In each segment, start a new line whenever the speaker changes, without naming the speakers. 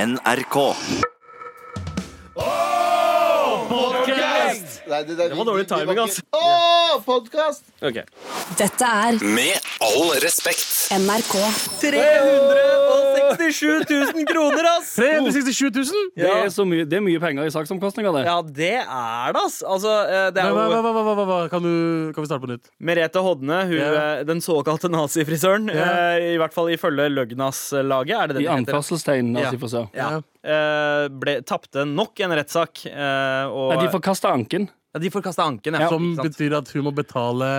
NRK.
Nei, det, det,
var dårlig timing, altså.
Å, podkast!
Ok.
Dette er
Med all respekt.
NRK.
367 000 kroner, ass!
Eh,
367 000? Det
Ja.
er, så mye, det er mye penger i saksomkostninger, det.
Ja, det er det, ass. Altså, eh, det er
Hva, hva,
jo
hva, hva, hva, hva, hva? Kan, du, kan vi starte på nytt?
Merete Hodne, hun,
Ja.
eh, den såkalte nazifrisøren.
Ja.
eh, I hvert fall ifølge Løgnas-laget, er det det
I
det heter?
anførselstegn.
Ja.
Altså, for å si.
Ja. Eh, ble, tapte nok en rettssak. eh, og-
Nei, de forkasta anken.
Ja, de forkasta anken, ja.
Som
Ikke sant?
betyr at hun må betale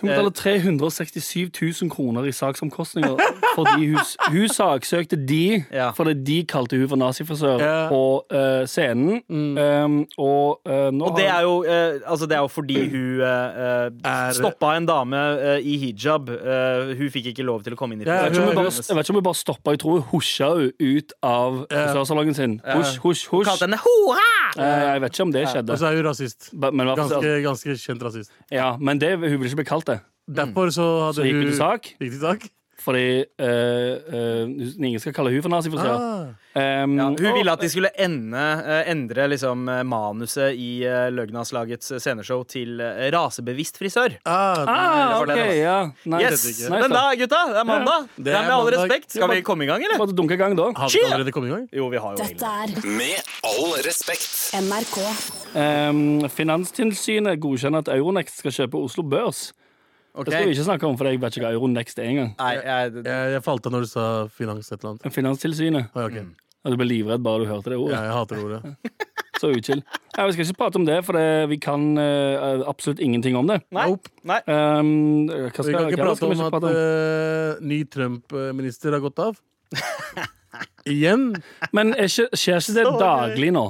Hun
eh,
betaler 367 000 kroner i saksomkostninger fordi hun, hun saksøkte de
Ja.
fordi de kalte hun for nazifrisør
Ja.
på eh, scenen. Um, og eh, nå
Mm. Og det
har-
er jo, eh, altså det er jo fordi hun eh,
Er-
stoppa en dame eh, i hijab. Eh, hun fikk ikke lov til å komme inn i
Ja,
jeg vet, ikke om hun
hun-
bare, jeg vet ikke om hun bare stoppa, jeg tror hun husja hun ut av frisørsalongen sin. Husj, husj,
Kalte
husj.
henne hora!
Eh, Jeg vet ikke om det
Og
skjedde.
så er hun rasist.
Ba- Men, i hvert fall-
Ganske, ganske kjent rasist.
ja, men det, hun ville ikke bli kalt det.
Derfor så hadde
Mm. Så gikk hun
hun
til sak.
Gikk til sak?
Fordi eh, eh, ingen skal kalle hun for nazifrisør.
Ah.
Um,
Ja, hun
og-
ville at de skulle ende, eh, endre liksom, eh, manuset i eh, Løgnaslagets sceneshow til eh, rasebevisst frisør.
Ah.
Ah,
for den,
ok,
altså.
ja. Nice.
Yes!
Nice,
Den
da.
da, gutta! Det er mandag. Det er
er
med all
mandag.
respekt. Skal vi komme i gang, eller?
Bare dunke i gang, da.
Har vi ikke allerede kommet i gang?
Jo, vi har jo egentlig
Dette er
Med all respekt.
NRK.
Ehm, Finanstilsynet godkjenner at Euronext skal kjøpe Oslo Børs.
Ok.
Det skal vi ikke snakke om, for jeg vet ikke hva Euronext er engang.
Nei, jeg,
Jeg, jeg falt av når du sa finans et eller annet.
Finanstilsynet.
Ah, ja, ok.
Ja, Du ble livredd bare du hørte det
ja,
ordet.
jeg hater ordet.
Så uchill. Nei, vi skal ikke prate om det, for det, vi kan eh, absolutt ingenting om det.
nei.
Nope.
nei.
Ehm, hva
Vi kan
skal,
ikke
hva
prate
skal vi
om
ikke
at
prate om?
eh, ny Trump-minister har gått av. Igjen.
Men er ikke, skjer ikke det daglig nå?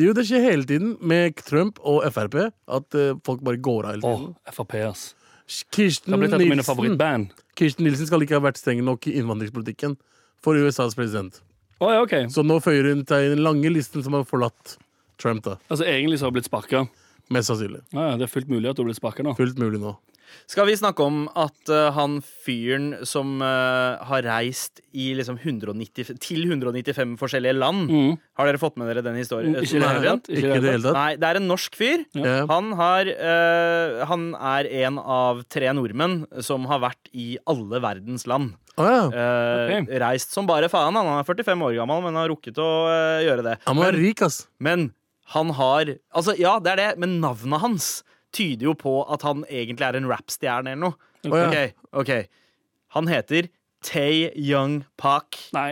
Jo, det skjer hele tiden med Trump og Frp at eh, folk bare går av hele
Åh,
tiden.
Frp, ass. Det
Kirsten,
har blitt et av mine
Nilsen,
favorittband.
Kirsten Nilsen skal ikke ha vært streng nok i innvandringspolitikken for USAs president.
Å, ja, ok.
Så nå føyer hun seg i den lange listen som har forlatt Trump, da.
Altså, egentlig så har jeg blitt sparka.
Mest sannsynlig.
Ja, ja, det er fullt mulig at du har blitt sparka nå.
Fullt mulig nå.
Skal vi snakke om at eh, han fyren som eh, har reist i liksom 190, til 195 forskjellige land Har dere fått med dere den historien?
Mm. Ikke i det hele tatt.
Ikke i det hele tatt.
Nei, det er en norsk fyr.
Ja.
Han, har, eh, han er en av tre nordmenn som har vært i alle verdens land.
Å ja.
Eh,
Ok.
Reist som bare faen. Han er 45 år gammel, men har rukket å eh, gjøre det.
Han må være rik, ass.
Men han har Altså, ja, det er det, men navnet hans tyder jo på at han egentlig er en rapstjerne eller noe.
Å ja.
Ok, ok Han heter Tae Young Pak.
Nei,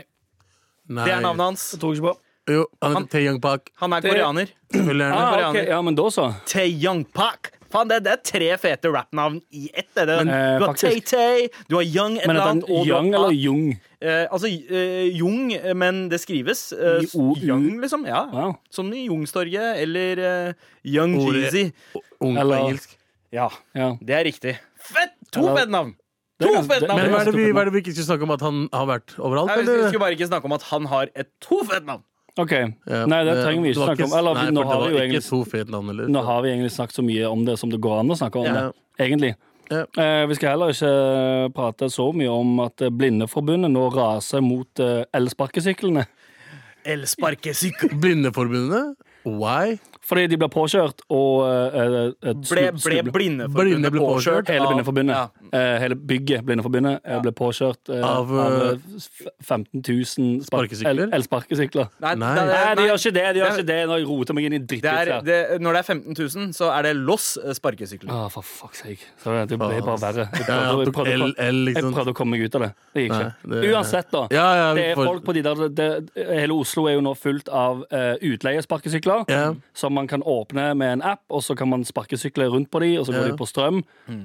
Nei.
Det er navnet hans.
det tror jeg ikke på.
Jo, han
Han-
heter Tae Young Park.
Han er koreaner.
Selvfølgelig er han det.
Ah, ok.
koreaner.
Ja, men da så.
Tae Young Pak. Faen, det, det er tre fete rappnavn i ett. Det, er det.
eh,
du har
faktisk-
Tay-Tay, du har Young et
Men
eller
er
annet.
det
du har
Young eller
Pak.
Jung?
Eh, altså eh, Jung, eh, men det skrives eh,
I-O-U.
Young, liksom. Ja.
Wow.
Som i Youngstorget eller eh, Young
Ordet-
Jeezy.
Ung på
Eller-
engelsk.
Ja,
Ja.
det er riktig. Fett! To
Eller-
fete navn!
Det er
To
ganske-
fete
det-
navn!
Men hva er, det vi,
stupid
hva er det vi ikke skal snakke om at han har vært overalt?
Nei, Vi skulle- vi
Eller?
skulle bare ikke snakke om at han har et to fete navn.
OK.
Ja,
Nei, det trenger vi ikke
Eh, var
snakke om. Eller,
nei, for
nå, har
det
vi
var
jo
ikke
egentlig,
så fet navn, eller?
nå har vi egentlig snakket så mye om det som det går an å snakke om
Ja.
det, egentlig.
Ja.
Eh, vi skal heller ikke eh, prate så mye om at eh, Blindeforbundet nå raser mot eh, elsparkesyklene.
Elsparkesykkel.
Blindeforbundet? Why?
Fordi de blir påkjørt og eh, eh, snu-
Ble, ble
snuble-
Blindeforbundet
Blinde ble påkjørt.
Hele
av-
Blindeforbundet.
Ja.
Eh, hele bygget Blindeforbundet eh, ble påkjørt eh,
Av,
av, eh, f- 15 000 spark-
Sparkesykler?
el- elsparkesykler.
Nei,
Nei.
det-
Nei, de
nei,
gjør ikke det. de gjør
Det-
ikke det Nå har jeg roter meg inn i
det
drittbits
er,
her.
det, når det er 15 000, så er det Loss eh, sparkesykler.
Ah, for fuck's sake. Så det, det ble bare verre. Jeg
Ja,
prøvde,
tok
jeg, prøvde,
L,
jeg, prøvde,
L,
jeg
liksom.
prøvde å komme meg ut av det. Det gikk ikke.
Nei, det-
Uansett, da.
Ja, ja, vi
Det er
får-
folk på de der det, Hele Oslo er jo nå fullt av eh, utleiesparkesykler
Ja.
som man kan åpne med en app, og så kan man sparkesykle rundt på de, og så går
Ja.
de på strøm.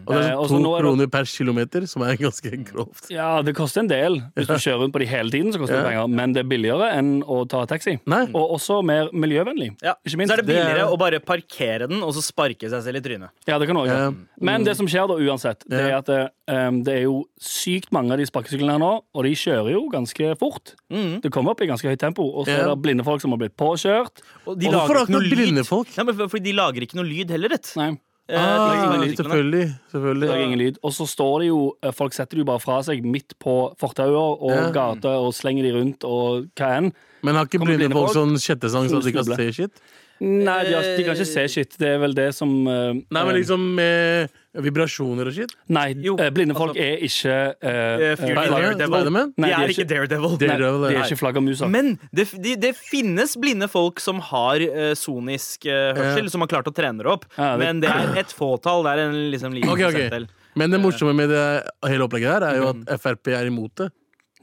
Og det er
Eh, og
sånn to
så nå er det-
kroner per kilometer, som er ganske grovt.
Ja, det koster en del. Hvis du kjører rundt på de hele tiden, så koster det
Ja.
penger, men det er billigere enn å ta taxi.
Nei.
Og også mer miljøvennlig.
Ja.
Ikke minst.
Så er det
Det er-
billigere å bare parkere den og så sparke seg selv i trynet.
Ja, det kan også,
Ja.
gjøre. Men det som skjer da uansett, det er
Eh, mm. Ja.
at ehm, det er jo sykt mange av de sparkesyklene her nå, og de kjører jo ganske fort. Det kommer opp i ganske høyt tempo, og så er
Mm. Ja.
det blinde folk som har blitt påkjørt.
Og de
Og hvorfor
lager ikke noe
akkurat
lyd.
blinde folk?
Nei, men for- fordi de lager ikke noe lyd heller, rett.
Nei.
Eh,
Ah,
ting som er i butikkene.
selvfølgelig. selvfølgelig.
Lager ingen lyd. Og så står det jo eh, Folk setter det jo bare fra seg midt på fortauer og
Ja.
gater og slenger de rundt og hva enn.
Men har ikke
Kommer
blinde
blinde
folk
folk?
sånn sjettesang så de kan
Snuble.
se shit?
Nei, de, har, de kan ikke se shit. Det er vel det som eh,
Eh. Nei, men liksom med vibrasjoner og shit?
Nei,
Jo,
eh, blinde folk
altså-
er ikke eh,
Eh, Fury Fire
eh, flagger-
Devil.
Spiderman?
de
Nei, de
er
er
ikke
ikke-
Daredevil.
Nei,
Devil,
de er
nei.
ikke flaggermuser.
Men det, f- de, det finnes blinde folk som har eh, sonisk eh, hørsel,
Ja.
som har klart å trene det opp.
Ja, det-
Men det er et fåtall. Det er en liksom liten
Ok, ok.
prosentdel.
Men det morsomme med det hele opplegget her er jo at Frp er imot det.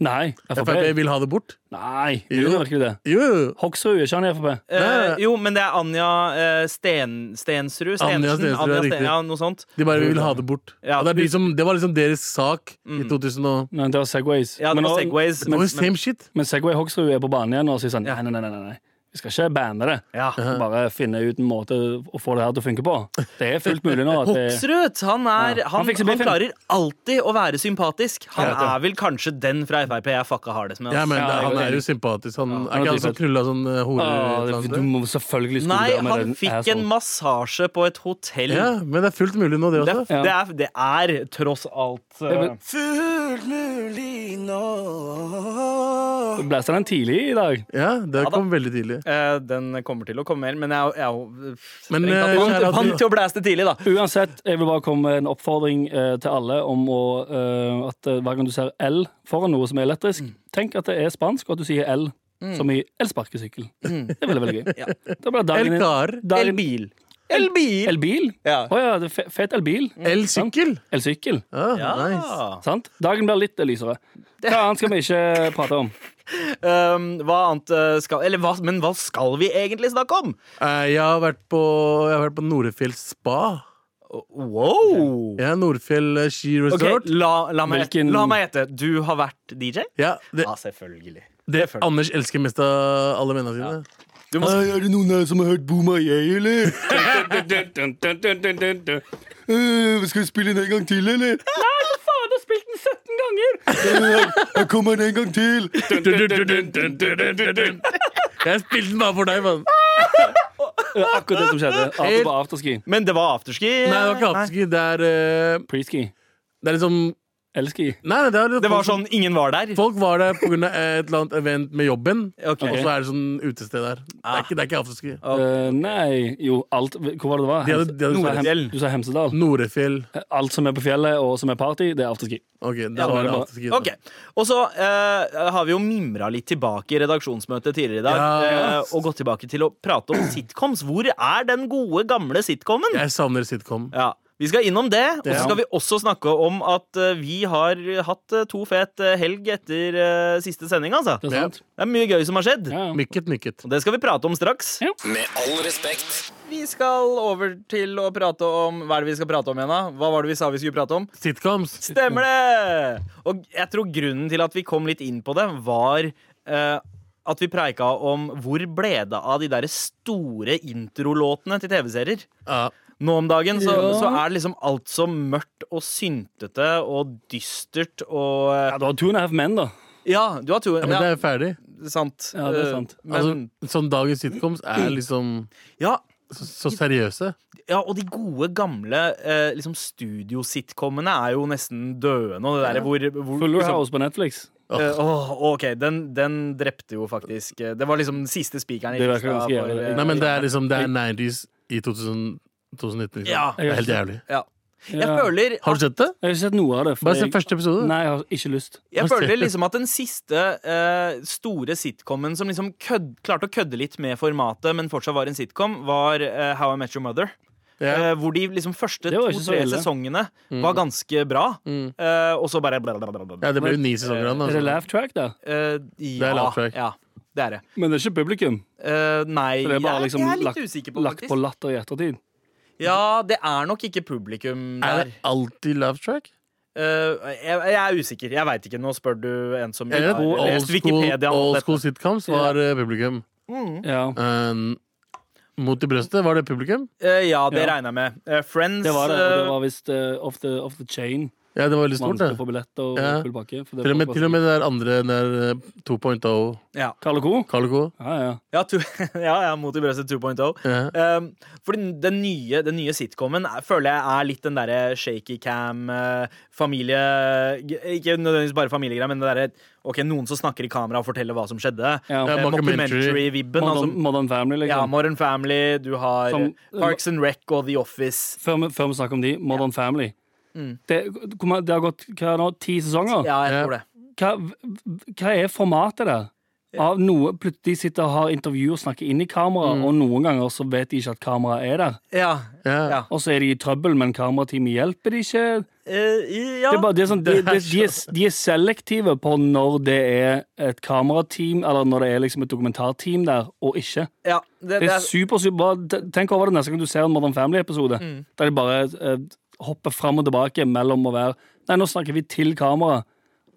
Nei,
Frp
Frp.
vil ha det bort.
Nei,
Jo.
gjør ikke det.
Jo, jo.
Hoksrud er ikke han i Frp.
Eh,
Nei.
jo, men det er Anja eh, Sten, Stensrud. Stensen,
Anja
Anja
Stensrud,
Sten,
det er riktig.
ja, noe sånt.
de bare vil ha det bort.
Ja.
Og det, er de som, det var liksom deres sak i 2000 og
Nei, det var Segways.
Ja, det
men,
var
nå-
Segways.
Det var
men-
jo same shit.
men Segway Hoksrud er på banen igjen og sier sånn
Ja.
nei, nei, nei, nei, nei. Vi skal ikke banne det.
ja.
Bare finne ut en måte å få det her til å funke på. Det er fullt mulig nå. At det,
Hoksrud han, er,
Ja. Han
han,
fikser
han,
biffen.
klarer alltid å være sympatisk. Han
Ja, det.
er vel kanskje den fra Frp jeg fucka hardest med. altså.
Ja,
ass.
men
Ja,
det,
jeg
han
er
er jo
enig.
sympatisk. Han,
han
er
er
ikke han som
dritfett.
krulla sånn eh, hore?
Å,
et eller annet
du
sted?
må selvfølgelig
Nei,
skulle der med
han
den sånn.
fikk en
asshole.
massasje på et hotell.
Ja, men det er fullt mulig nå, det
Det,
også.
Ja.
det, er, det er tross alt eh,
men-
Fullt mulig nå.
Blæsta den tidlig i dag.
Ja, det
Ja, da.
kom veldig tidlig.
eh, Den kommer til å komme mer, men jeg, jeg,
Men,
jeg
eh, kjære
vant,
at du-
vant til å blæste tidlig, da.
Uansett, jeg vil bare komme med en oppfordring eh, til alle om å, eh, at eh, hver gang du ser L foran noe som er elektrisk,
Mm.
tenk at det er spansk, og at du sier L som i elsparkesykkel. Det er veldig, veldig gøy.
Mm. Ja.
Da blir dagen
El
din-
kar.
dagen-
Elbil. Elbil!
Elbil? Å
Ja.
ja, det er fe- fet elbil.
El sykkel.
Elsykkel.
Ah,
Ja.
Nice.
Sant? Dagen blir litt lysere. Hva annet skal vi ikke prate om?
Um, hva annet eh, skal Eller hva, men hva skal vi egentlig snakke om?
Eh, Jeg har vært på, jeg har vært på Norefjell spa.
Wow!
Ja, Nordfjell eh, Ski
Ok,
Resort.
la, la, meg,
Hvilken-
la meg gjette. Du har vært DJ?
Ja, det,
Ja, selvfølgelig.
det Anders elsker mest av alle vennene sine.
Du må,
Hei, Eh, er det noen her som har hørt Boom og jeg, eller? Eh, skal vi spille den en gang til, eller?
Faen, du har spilt den 17 ganger!
Jeg kommer den en gang til! Jeg spilte den bare for deg, mann. Nei,
Det var akkurat det som skjedde. Arthur på afterski.
men det var afterski?
det var ikke afterski. Det er, eh,
Preski.
det er liksom
Elski.
Nei, nei, det, er,
Det var sånn ingen var der?
Folk var der pga. et eller annet event med jobben,
Ok.
og så er det sånn utested der. Det er ikke, det er ikke afterski.
Eh, nei Jo, alt Hvor var det det var?
De hadde- de hadde-
Du sa Hem-
Nordfjell.
Du sa Hemsedal.
Norefjell.
Alt som er på fjellet, og som er party, det er afterski.
Ok,
Ja,
da var
det
det
var-
afterski. da.
Ok, Og så eh, har vi jo mimra litt tilbake i redaksjonsmøtet tidligere i dag.
Ja.
eh, og gått tilbake til å prate om sitcoms. Hvor er den gode, gamle sitcomen?
Jeg savner sitcom.
Ja, Vi skal innom det, og så
Ja.
skal vi også snakke om at eh, vi har hatt eh, to fet eh, helg etter eh, siste sending. altså.
Det er sant.
Det er mye gøy som har skjedd.
Ja. ja.
Mykket, mykket.
Og det skal vi prate om straks.
Ja.
Med all respekt.
Vi skal over til å prate om Hva er det vi skal prate om igjen, da? Hva var det vi sa vi skulle prate om?
Sitcoms.
Stemmer det! Og jeg tror grunnen til at vi kom litt inn på det, var eh, at vi preika om hvor ble det av de der store introlåtene til TV-serier.
Ja.
Nå om dagen så,
Ja.
så er det liksom alt så mørkt og syntete og dystert og eh,
ja, du har Two and a Half Men, da.
Ja, du har to
Ja, men det
ja,
er jo ferdig.
Sant.
Ja, det er
Eh,
sant.
Men,
Altså, sånn dagens sitcoms er liksom
ja,
så, så seriøse.
ja, og de gode, gamle eh, liksom studiositcomene er jo nesten døde nå. Det der hvor, hvor
Fuller
liksom,
House på Netflix.
Eh, åh, ok, den, den drepte jo faktisk eh, Det var liksom den siste spikeren. i
Det virker
kista
ganske
for,
jævlig.
eh,
Nei, men det er liksom Det er 90s i 2000, 2019. Liksom.
Ja.
Det er helt jævlig.
ja. Jeg
Ja.
føler
Har du sett det?
Jeg har ikke sett noe av det. for
Bare se
jeg-
første episode.
Nei, jeg har ikke lyst.
jeg føler liksom at den siste eh, store sitcomen som liksom kødd, klarte å kødde litt med formatet, men fortsatt var en sitcom, var eh, How I Met Your Mother.
Ja.
Eh, hvor de liksom første
Det var ikke så
to-tre
ille. Mm.
sesongene var ganske bra, eh, og så bare bla, bla, bla, bla, bla.
Ja, det ble jo ni sesonger av den.
Er det
Altså.
laugh track der?
Eh,
er laugh
ja,
track.
ja, det er det.
Men det er ikke publikum.
Eh, nei,
Så det er bare
jeg,
liksom
jeg er litt
lagt-
usikker på,
Lagt
faktisk.
på latter i ettertid.
Ja, det er nok ikke publikum der.
Er det alltid laugh track?
Eh, jeg, jeg er usikker. Jeg veit ikke. Nå spør du en som
Jeg
har
vet, old
lest
school,
Wikipedia. om
old
dette.
school sitcoms var eh, publikum.
Ja.
Um, Mot i brøstet, var det publikum?
Eh, ja, det
Ja.
regner jeg med. Eh, Friends
Det var det. Og det
eh,
var visst eh, off, the, off the Chain.
Ja, det var veldig stort,
Vant
det.
på billetter og
Ja.
full bakke. For det
Til og
var
med,
bare
til og
sånn-
med det der andre, den der eh, 2.0
Ja,
Karl og Co.
Calico.
Ja, ja.
ja, to, ja, ja mot i brøstet 2.0.
Ja.
Um, fordi den nye, den nye sitcomen er, føler jeg er litt den derre shaky cam, eh, familie eh, Ikke nødvendigvis bare familiegreier, men det derre OK, noen som snakker i kamera og forteller hva som skjedde.
Ja.
Eh,
Mockumentary.
Mockumentary-vibben.
Modern,
Altså,
modern Family, liksom.
ja, Modern Family, du har
Som-
Parks and Rec og The Office.
før, vi, før vi snakker om de, Modern Family. Det, hvor mange- det har gått hva er det nå, ti sesonger.
Ja, jeg
Ja.
tror det.
Hva, hva er formatet der? Av noe, plut- de sitter og har intervju og snakker inn i kamera, og noen ganger så vet de ikke at kameraet er der.
Ja.
Ja.
Ja.
Og så er de i trøbbel, men kamerateamet hjelper de ikke.
Eh, ja.
Det er bare, det er sånn, de, de, de, er, de er selektive på når det er et kamerateam, eller når det er liksom et dokumentarteam der, og ikke.
ja det,
Det er super, super bra. T- Tenk over det neste gang du ser en Modern Family-episode. Der de bare eh, hopper fram og tilbake mellom å være Nei, nå snakker vi til kamera,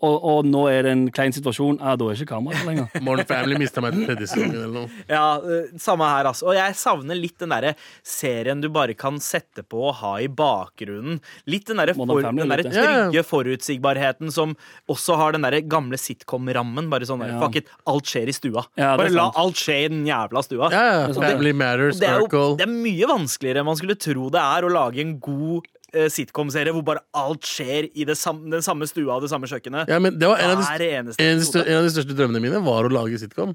og, og nå er det en klein situasjon. Ja, da er ikke kamera der lenger.
Modern Family mista meg til tredje sesongen eller noe.
Ja, eh, samme her, altså. Og jeg savner litt den derre serien du bare kan sette på og ha i bakgrunnen. Litt den derre
Modern
for,
Family,
den derre
litt,
ja. Ja,
trygge forutsigbarheten som også har den derre gamle sitcom-rammen. Bare sånn der,
Ja.
fuck it, alt skjer i stua.
Ja, det er
bare la
sant.
alt skje i den jævla stua.
Ja, ja.
sant,
Family Matters,
Og Det er jo
Circle.
det er mye vanskeligere enn man skulle tro det er å lage en god eh, sitcom-serie hvor bare alt skjer i det sam den samme stua og det samme kjøkkenet.
Ja, men det var en av, de,
Hver eneste
en, av de stør-
episode.
en av de største drømmene mine var å lage sitcom.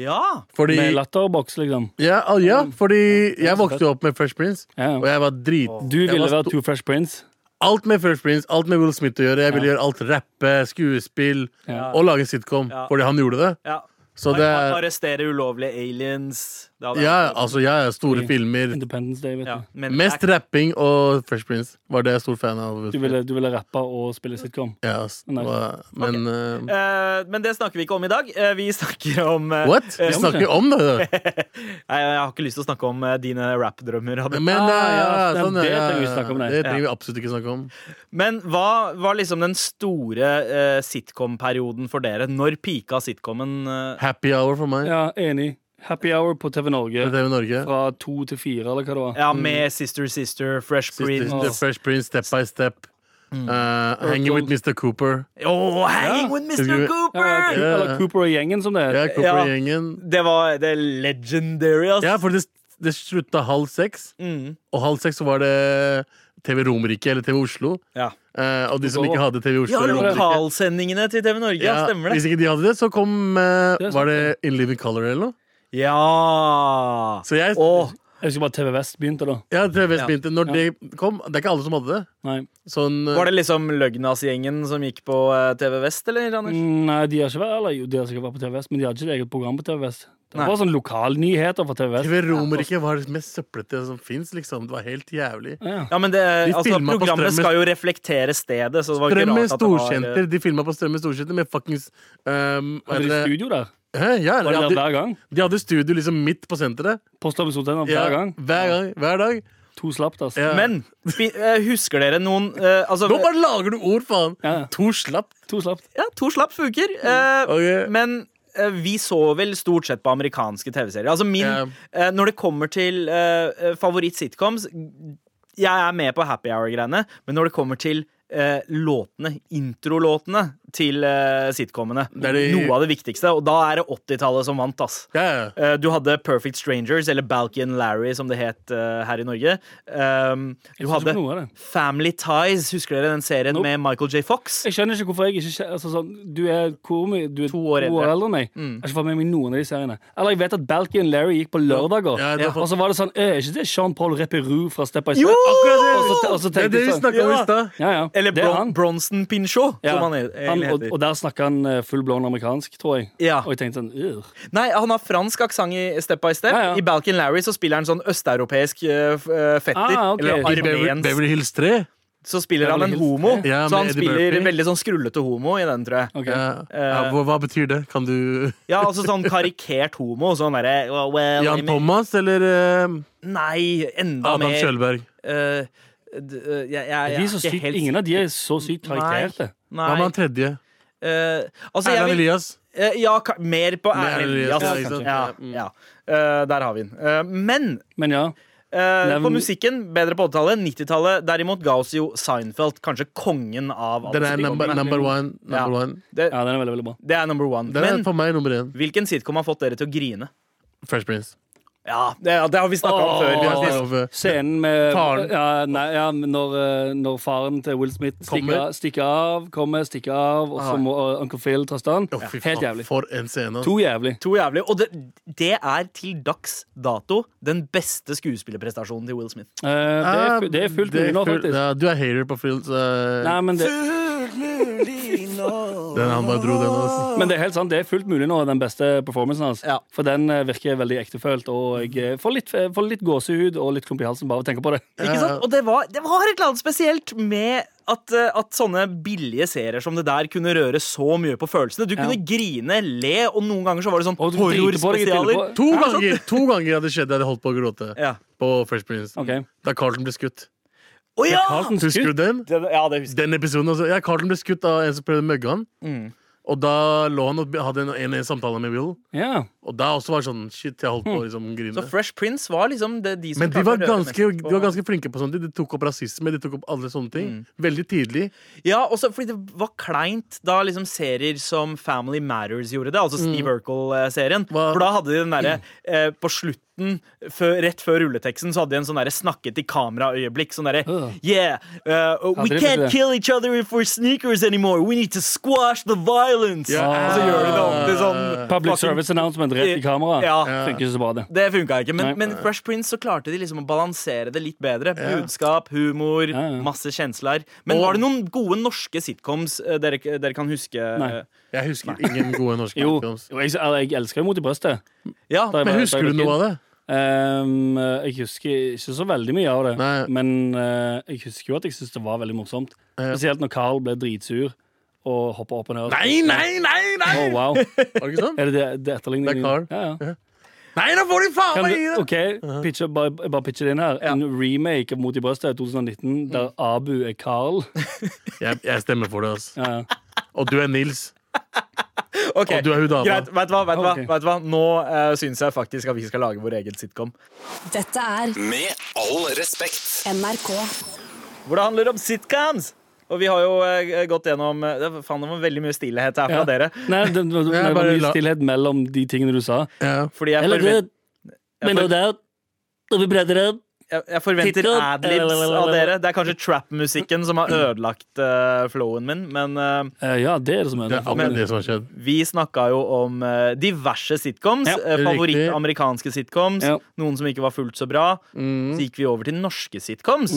Ja!
Fordi,
Med latterboks, liksom.
ja, al- ja,
Mm.
fordi jeg vokste jo opp med Fresh Prince,
Ja.
og jeg var drit
Du
jeg
ville
var
være
sto-
Two Fresh Prince.
Alt med Fresh Prince, alt med Will Smith å gjøre. Jeg ville gjøre alt rappe, skuespill
Ja.
og lage en sitcom.
Ja.
Fordi han gjorde det.
ja.
Så det
Ar-
er
Arrestere ulovlige aliens. Det hadde
Ja, altså, jeg er store filmer.
Independence Day, vet
Ja,
du.
men
Mest
det er-
rapping og Fresh Prince var det jeg er stor fan av.
Du ville, du ville rappe og spille sitcom.
Ja, ass. Det
Nei.
var- men eh,
Eh, men det snakker vi ikke om i dag. Eh, vi snakker om eh,
What? Vi snakker om det! da.
Nei, jeg har ikke lyst til å snakke om eh, dine rap-drømmer. Adam.
Men
Ah,
eh,
ja,
ja,
stemmer.
sånn, ja,
Det
ja,
trenger vi snakke om, nei.
det trenger vi absolutt ikke snakke om.
Men hva var liksom den store eh, sitcom-perioden for dere? Når pika sitcomen? eh,
Happy hour for meg.
Ja, enig. Happy Hour på TV
På
Norge
TV Norge.
fra to til fire, eller hva det var.
ja, med Sister Sister, Fresh Prince
Mm. Sister, Fresh Prince, Step by Step.
Mm.
eh, hanging with Mr. Cooper.
Oh, hanging with Mr.
Ja.
Ja,
Cooper!
Ja.
Eller Cooper og gjengen, som det
Ja,
heter.
Cooper-gjengen.
Det var det legendary, ass.
Ja, for det, det slutta halv seks,
Mm,
og halv seks så var det TV Romerike eller TV Oslo.
ja.
Eh, og de som ikke hadde TV Oslo
ja,
eller Romerike
lokalsendingene til TV Norge. Ja,
Ja,
stemmer det.
Hvis ikke de hadde det, så kom eh,
Det er sant,
Var det In Living Color eller noe?
Ja!
Så jeg
Åh,
Jeg husker bare TV Vest begynte, da.
Ja, TV Vest
Ja.
begynte Når det kom Det er ikke alle som hadde det.
Nei.
Sånn eh,
Var det liksom Løgnas-gjengen som gikk på eh, TV Vest, eller, Anders?
Mm, Nei, de har ikke vært eller, jo, de har sikkert vært på TV Vest, men de hadde ikke et eget program på TV Vest. Det
Nei.
var sånn lokalnyheter fra TV Vest.
TV Romerike var det mest søplete som fins, liksom. Det var helt jævlig.
Ja.
Ja, men altså. det, altså,
filma på
Programmet
Strømmen.
skal jo reflektere stedet, så det var ikke
Strømmen
rart at det var
Storkjenter. De filma på Strømmen Storkjenter med fuckings um,
Hadde de studio der?
Hæ? Ja, de
Var de der
hadde,
hver gang?
de hadde studio liksom midt på senteret.
Posta episodene
Ja,
hver gang?
Hver gang, hver dag.
To slapp, altså.
Ja.
Men fi- eh, husker dere noen eh, altså,
Nå bare lager du ord, faen!
Ja.
To slapp.
To slapp.
Ja, to slapp funker. eh,
Ok.
Men eh, vi så vel stort sett på amerikanske TV-serier. Altså min
Ja.
eh, Når det kommer til eh, favoritt-sitcoms Jeg er med på happy hour-greiene, men når det kommer til eh, låtene, introlåtene til eh, sitcomene,
er de-
noe av det viktigste, og da er det 80-tallet som vant, ass.
Ja, ja.
Eh, Du hadde Perfect Strangers, eller Balky and Larry, som det het eh, her i Norge. Um, du
Jeg synes
hadde
ikke noe av det.
Family Ties, husker dere den serien
Nope.
med Michael J. Fox?
Jeg skjønner ikke hvorfor jeg ikke kje- altså, sånn, Du er, hvor mye, du er
To år eldre.
enn meg.
Mm.
Jeg har ikke fått med meg noen av de seriene. Eller jeg vet at Balky and Larry gikk på lørdager.
Ja, det var-
Og så var det sånn Er ikke det Jean-Paul Reperou fra Step by Step?
Jo!
Og så, og så
Det er
tenkte
det vi
jeg sånn
snakka om i
Ja.
stad.
ja, ja,
Eller
det er
Bron
han.
Bronson Pinchot,
Ja.
som han e-
han,
egentlig
og,
heter.
og der snakker han eh, full blown amerikansk, tror jeg.
Ja.
Og jeg tenkte sånn Ur.
Nei, han har fransk aksent i Step by Step.
Ja, ja.
I Balkan Larry så spiller han sånn østeuropeisk eh, f- eh, fetter.
Ah, ok.
Eller
I
I Beverly,
armensk.
Beverly Hills 3.
Så spiller han en
Beverly Hills.
homo.
Ja,
så
med
han
Eddie
spiller
Murphy.
veldig sånn skrullete homo i den, tror jeg.
Ok.
Ja.
Eh,
Ja, hva, hva betyr det? Kan du
Ja, altså sånn karikert homo. Sånn derre well, well, I
Jan
mean-
Thomas eller eh,
Nei, enda
Adam
mer.
Kjølberg?
Eh, d- eh, jeg, jeg, jeg
De er så sykt, Ingen av de er så sykt karakterte.
Hva med
Nei.
han tredje?
eh, altså, jeg
Erland
vil
Elias?
eh, Ja, ka- mer på
Mer
Erlend Elias.
Elias, ja, mm. ikke sant?
Ja, ja. Eh, der har vi den. Eh, men
Men ja,
Eh,
Nevn-
på musikken, bedre på 80-tallet. 90-tallet derimot ga oss jo Seinfeld, kanskje kongen av alt
Den er
sitcom.
number, number one.
Ja.
Number one.
Det,
Ja, den er veldig, veldig bra.
det er number one.
Den er
Men
for meg nummer én.
hvilken sitcom har fått dere til å grine?
Fresh Prince.
Ja, det, ja, det har vi snakka om
Åh.
før.
Vi
Vi
har
har
snakket om før.
Scenen med
Faren.
Ja, nei, ja, men når, eh, når faren til Will Smith stikker,
Kommer.
av- stikker av, kommer, stikker av, og
Ah.
så må eh, Uncle Phil ta stand.
Å, fy faen,
Helt jævlig.
For en scene. ass.
To jævlig.
To jævlig. Og det, det er til dags dato den beste skuespillerprestasjonen til Will Smith.
Eh, det, er, fu- det er fullt
Ah, Det
mulig nå,
full-
faktisk.
Ja, du er hater på Phil. så, eh,
Nei, men det,
Den han bare dro, den. ass.
men det er helt sant, det er fullt mulig nå, den beste performancen hans.
Ja.
For den eh, virker veldig ektefølt, og jeg eh, får litt, eh, får litt gåsehud og litt klump i halsen bare av å tenke på det.
Ikke
Ja.
sant? Og det var, det var et eller annet spesielt med at, eh, at sånne billige serier som det der kunne røre så mye på følelsene. Du kunne grine, le, og noen ganger så var det sånn
Og du driter på deg
horrorspesialer.
etterpå.
To ganger to ganger hadde det skjedd jeg hadde holdt på å gråte
Ja.
på Fresh Prince.
Ok.
Da Carlton ble skutt.
Å ja!
Carlton
Husker
skutt.
du den?
Det, ja, det husker jeg.
Den episoden altså. Ja, Carlton ble skutt av en som prøvde å møgge han. Og da lå han og hadde en, en, en samtale med Will.
Ja.
Og da også var det sånn Shit, jeg holdt på å liksom, grine.
Så Fresh Prince var liksom det, de som
Men de
klarte
var,
å røre
ganske,
mest på-
de var ganske flinke på sånt. De tok opp rasisme, de tok opp alle sånne ting. Veldig tidlig.
Ja, også fordi det var kleint da liksom serier som Family Matters gjorde det, altså
Mm.
Steve Urkel-serien.
Hva-
For da hadde de den derre eh, På slutten, før, rett før rulleteksten, så hadde de en sånn derre snakket i kamera-øyeblikk. Sånn derre
Øh.
Yeah, uh, we
Hadde de
can't
det?
kill each other if we're sneakers anymore. We need to squash the violence.
Ja.
Og så gjør de det om til sånn
Public
fucking-
service announcement rett i kamera.
Ja.
Funker ikke så bra, det.
Det funka ikke, men,
Nei.
men Fresh Prince så klarte de liksom å balansere det litt bedre. Budskap, humor,
Ja, ja.
masse kjensler. Men
Og-
var det noen gode norske sitcoms eh, dere, dere kan huske?
Nei.
Jeg husker ingen gode norske
Jo, jo
sitcoms.
jeg, eller, jeg elsker jo Mot i brøstet.
Ja,
Da jeg
Men
var- da
husker
jeg
du noe
var kid.
av det?
Ehm, jeg husker ikke så veldig mye av det,
Nei.
men eh, jeg husker jo at jeg syntes det var veldig morsomt.
Ja.
Spesielt når Carl ble dritsur og hoppa opp og ned.
Nei, nei, nei! nei
Oh, wow. Er
Var det ikke sånn?
det det, det
Det er
etterligningen?
Carl.
Ja, ja.
Nei, nå får de faen
Kan
meg
du,
gi det!
OK, pitche, bare, bare pitche det inn her. En remake av Mot i brøstet 2019
Mm.
der Abu er Carl.
Jeg, jeg stemmer for det, altså.
Ja, ja.
Og du er Nils.
Ok,
Og du er hun dama.
Greit, vet du hva, vet du hva,
Ok.
vet du hva? Nå uh, syns jeg faktisk at vi skal lage vår egen sitcom.
Dette er
Med all respekt.
NRK.
Hvor det handler om sitcoms! Og vi har jo eh, gått gjennom eh, det- Faen, det var veldig mye stillhet her fra
Ja.
dere.
Nei, det, det, det,
Jeg
var
bare
mye
la-
stillhet mellom de tingene du sa.
Ja.
Fordi jeg,
Eller
forvent,
det, men det, det, det, det, det.
jeg, jeg forventer
Tittel.
adlibs av dere. Det er kanskje trap-musikken som har ødelagt eh, flowen min, men eh,
Eh, ja, det er det som er
Det er akkurat det som har skjedd.
Vi snakka jo om eh, diverse sitcoms.
Ja.
eh,
Riktig.
Favoritt-amerikanske sitcoms.
Ja. Mhm.
Noen som ikke var fullt så bra. Så gikk vi over til norske sitcoms.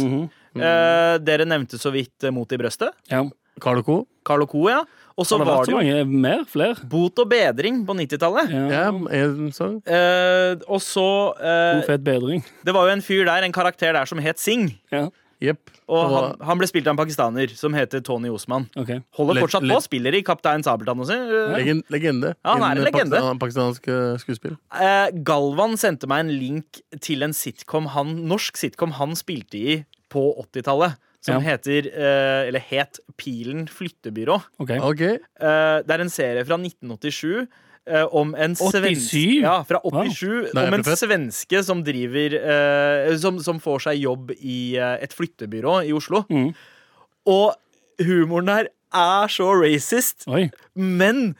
Eh, dere nevnte så vidt eh, Mot i brøstet.
Ja.
Carl og Co.
Carl og Co. Ja. Og så
Har det
var
vært
det
så
jo
mange mer? Flere?
Bot og bedring på 90-tallet.
Ja, en sang.
Eh, og så eh,
God fet bedring.
Det var jo en fyr der, en karakter der som het Singh.
Ja,
Jepp.
Og
Og
han, han ble spilt av en pakistaner som heter Tony Osman.
ok.
Holder
Leg-
fortsatt
leg-
på, spiller i Kaptein Sabeltann også. eh,
Legen, legende.
Ja, han er en
Innen
legende.
pakistan- Pakistansk eh, skuespill.
Eh, Galvan sendte meg en link til en sitcom han, norsk sitcom han spilte i på 80-tallet. Som
Ja.
heter, eh, eller het Pilen flyttebyrå.
ok.
Ah, OK.
Eh, det er en serie fra 1987. eh, om en
87?
svenske Ja, fra 87
Da er
Om
jeg
en
født.
svenske som driver eh, som, som får seg jobb i eh, et flyttebyrå i Oslo.
Mm.
Mhm.
Og humoren her er så racist.
Oi.
Men,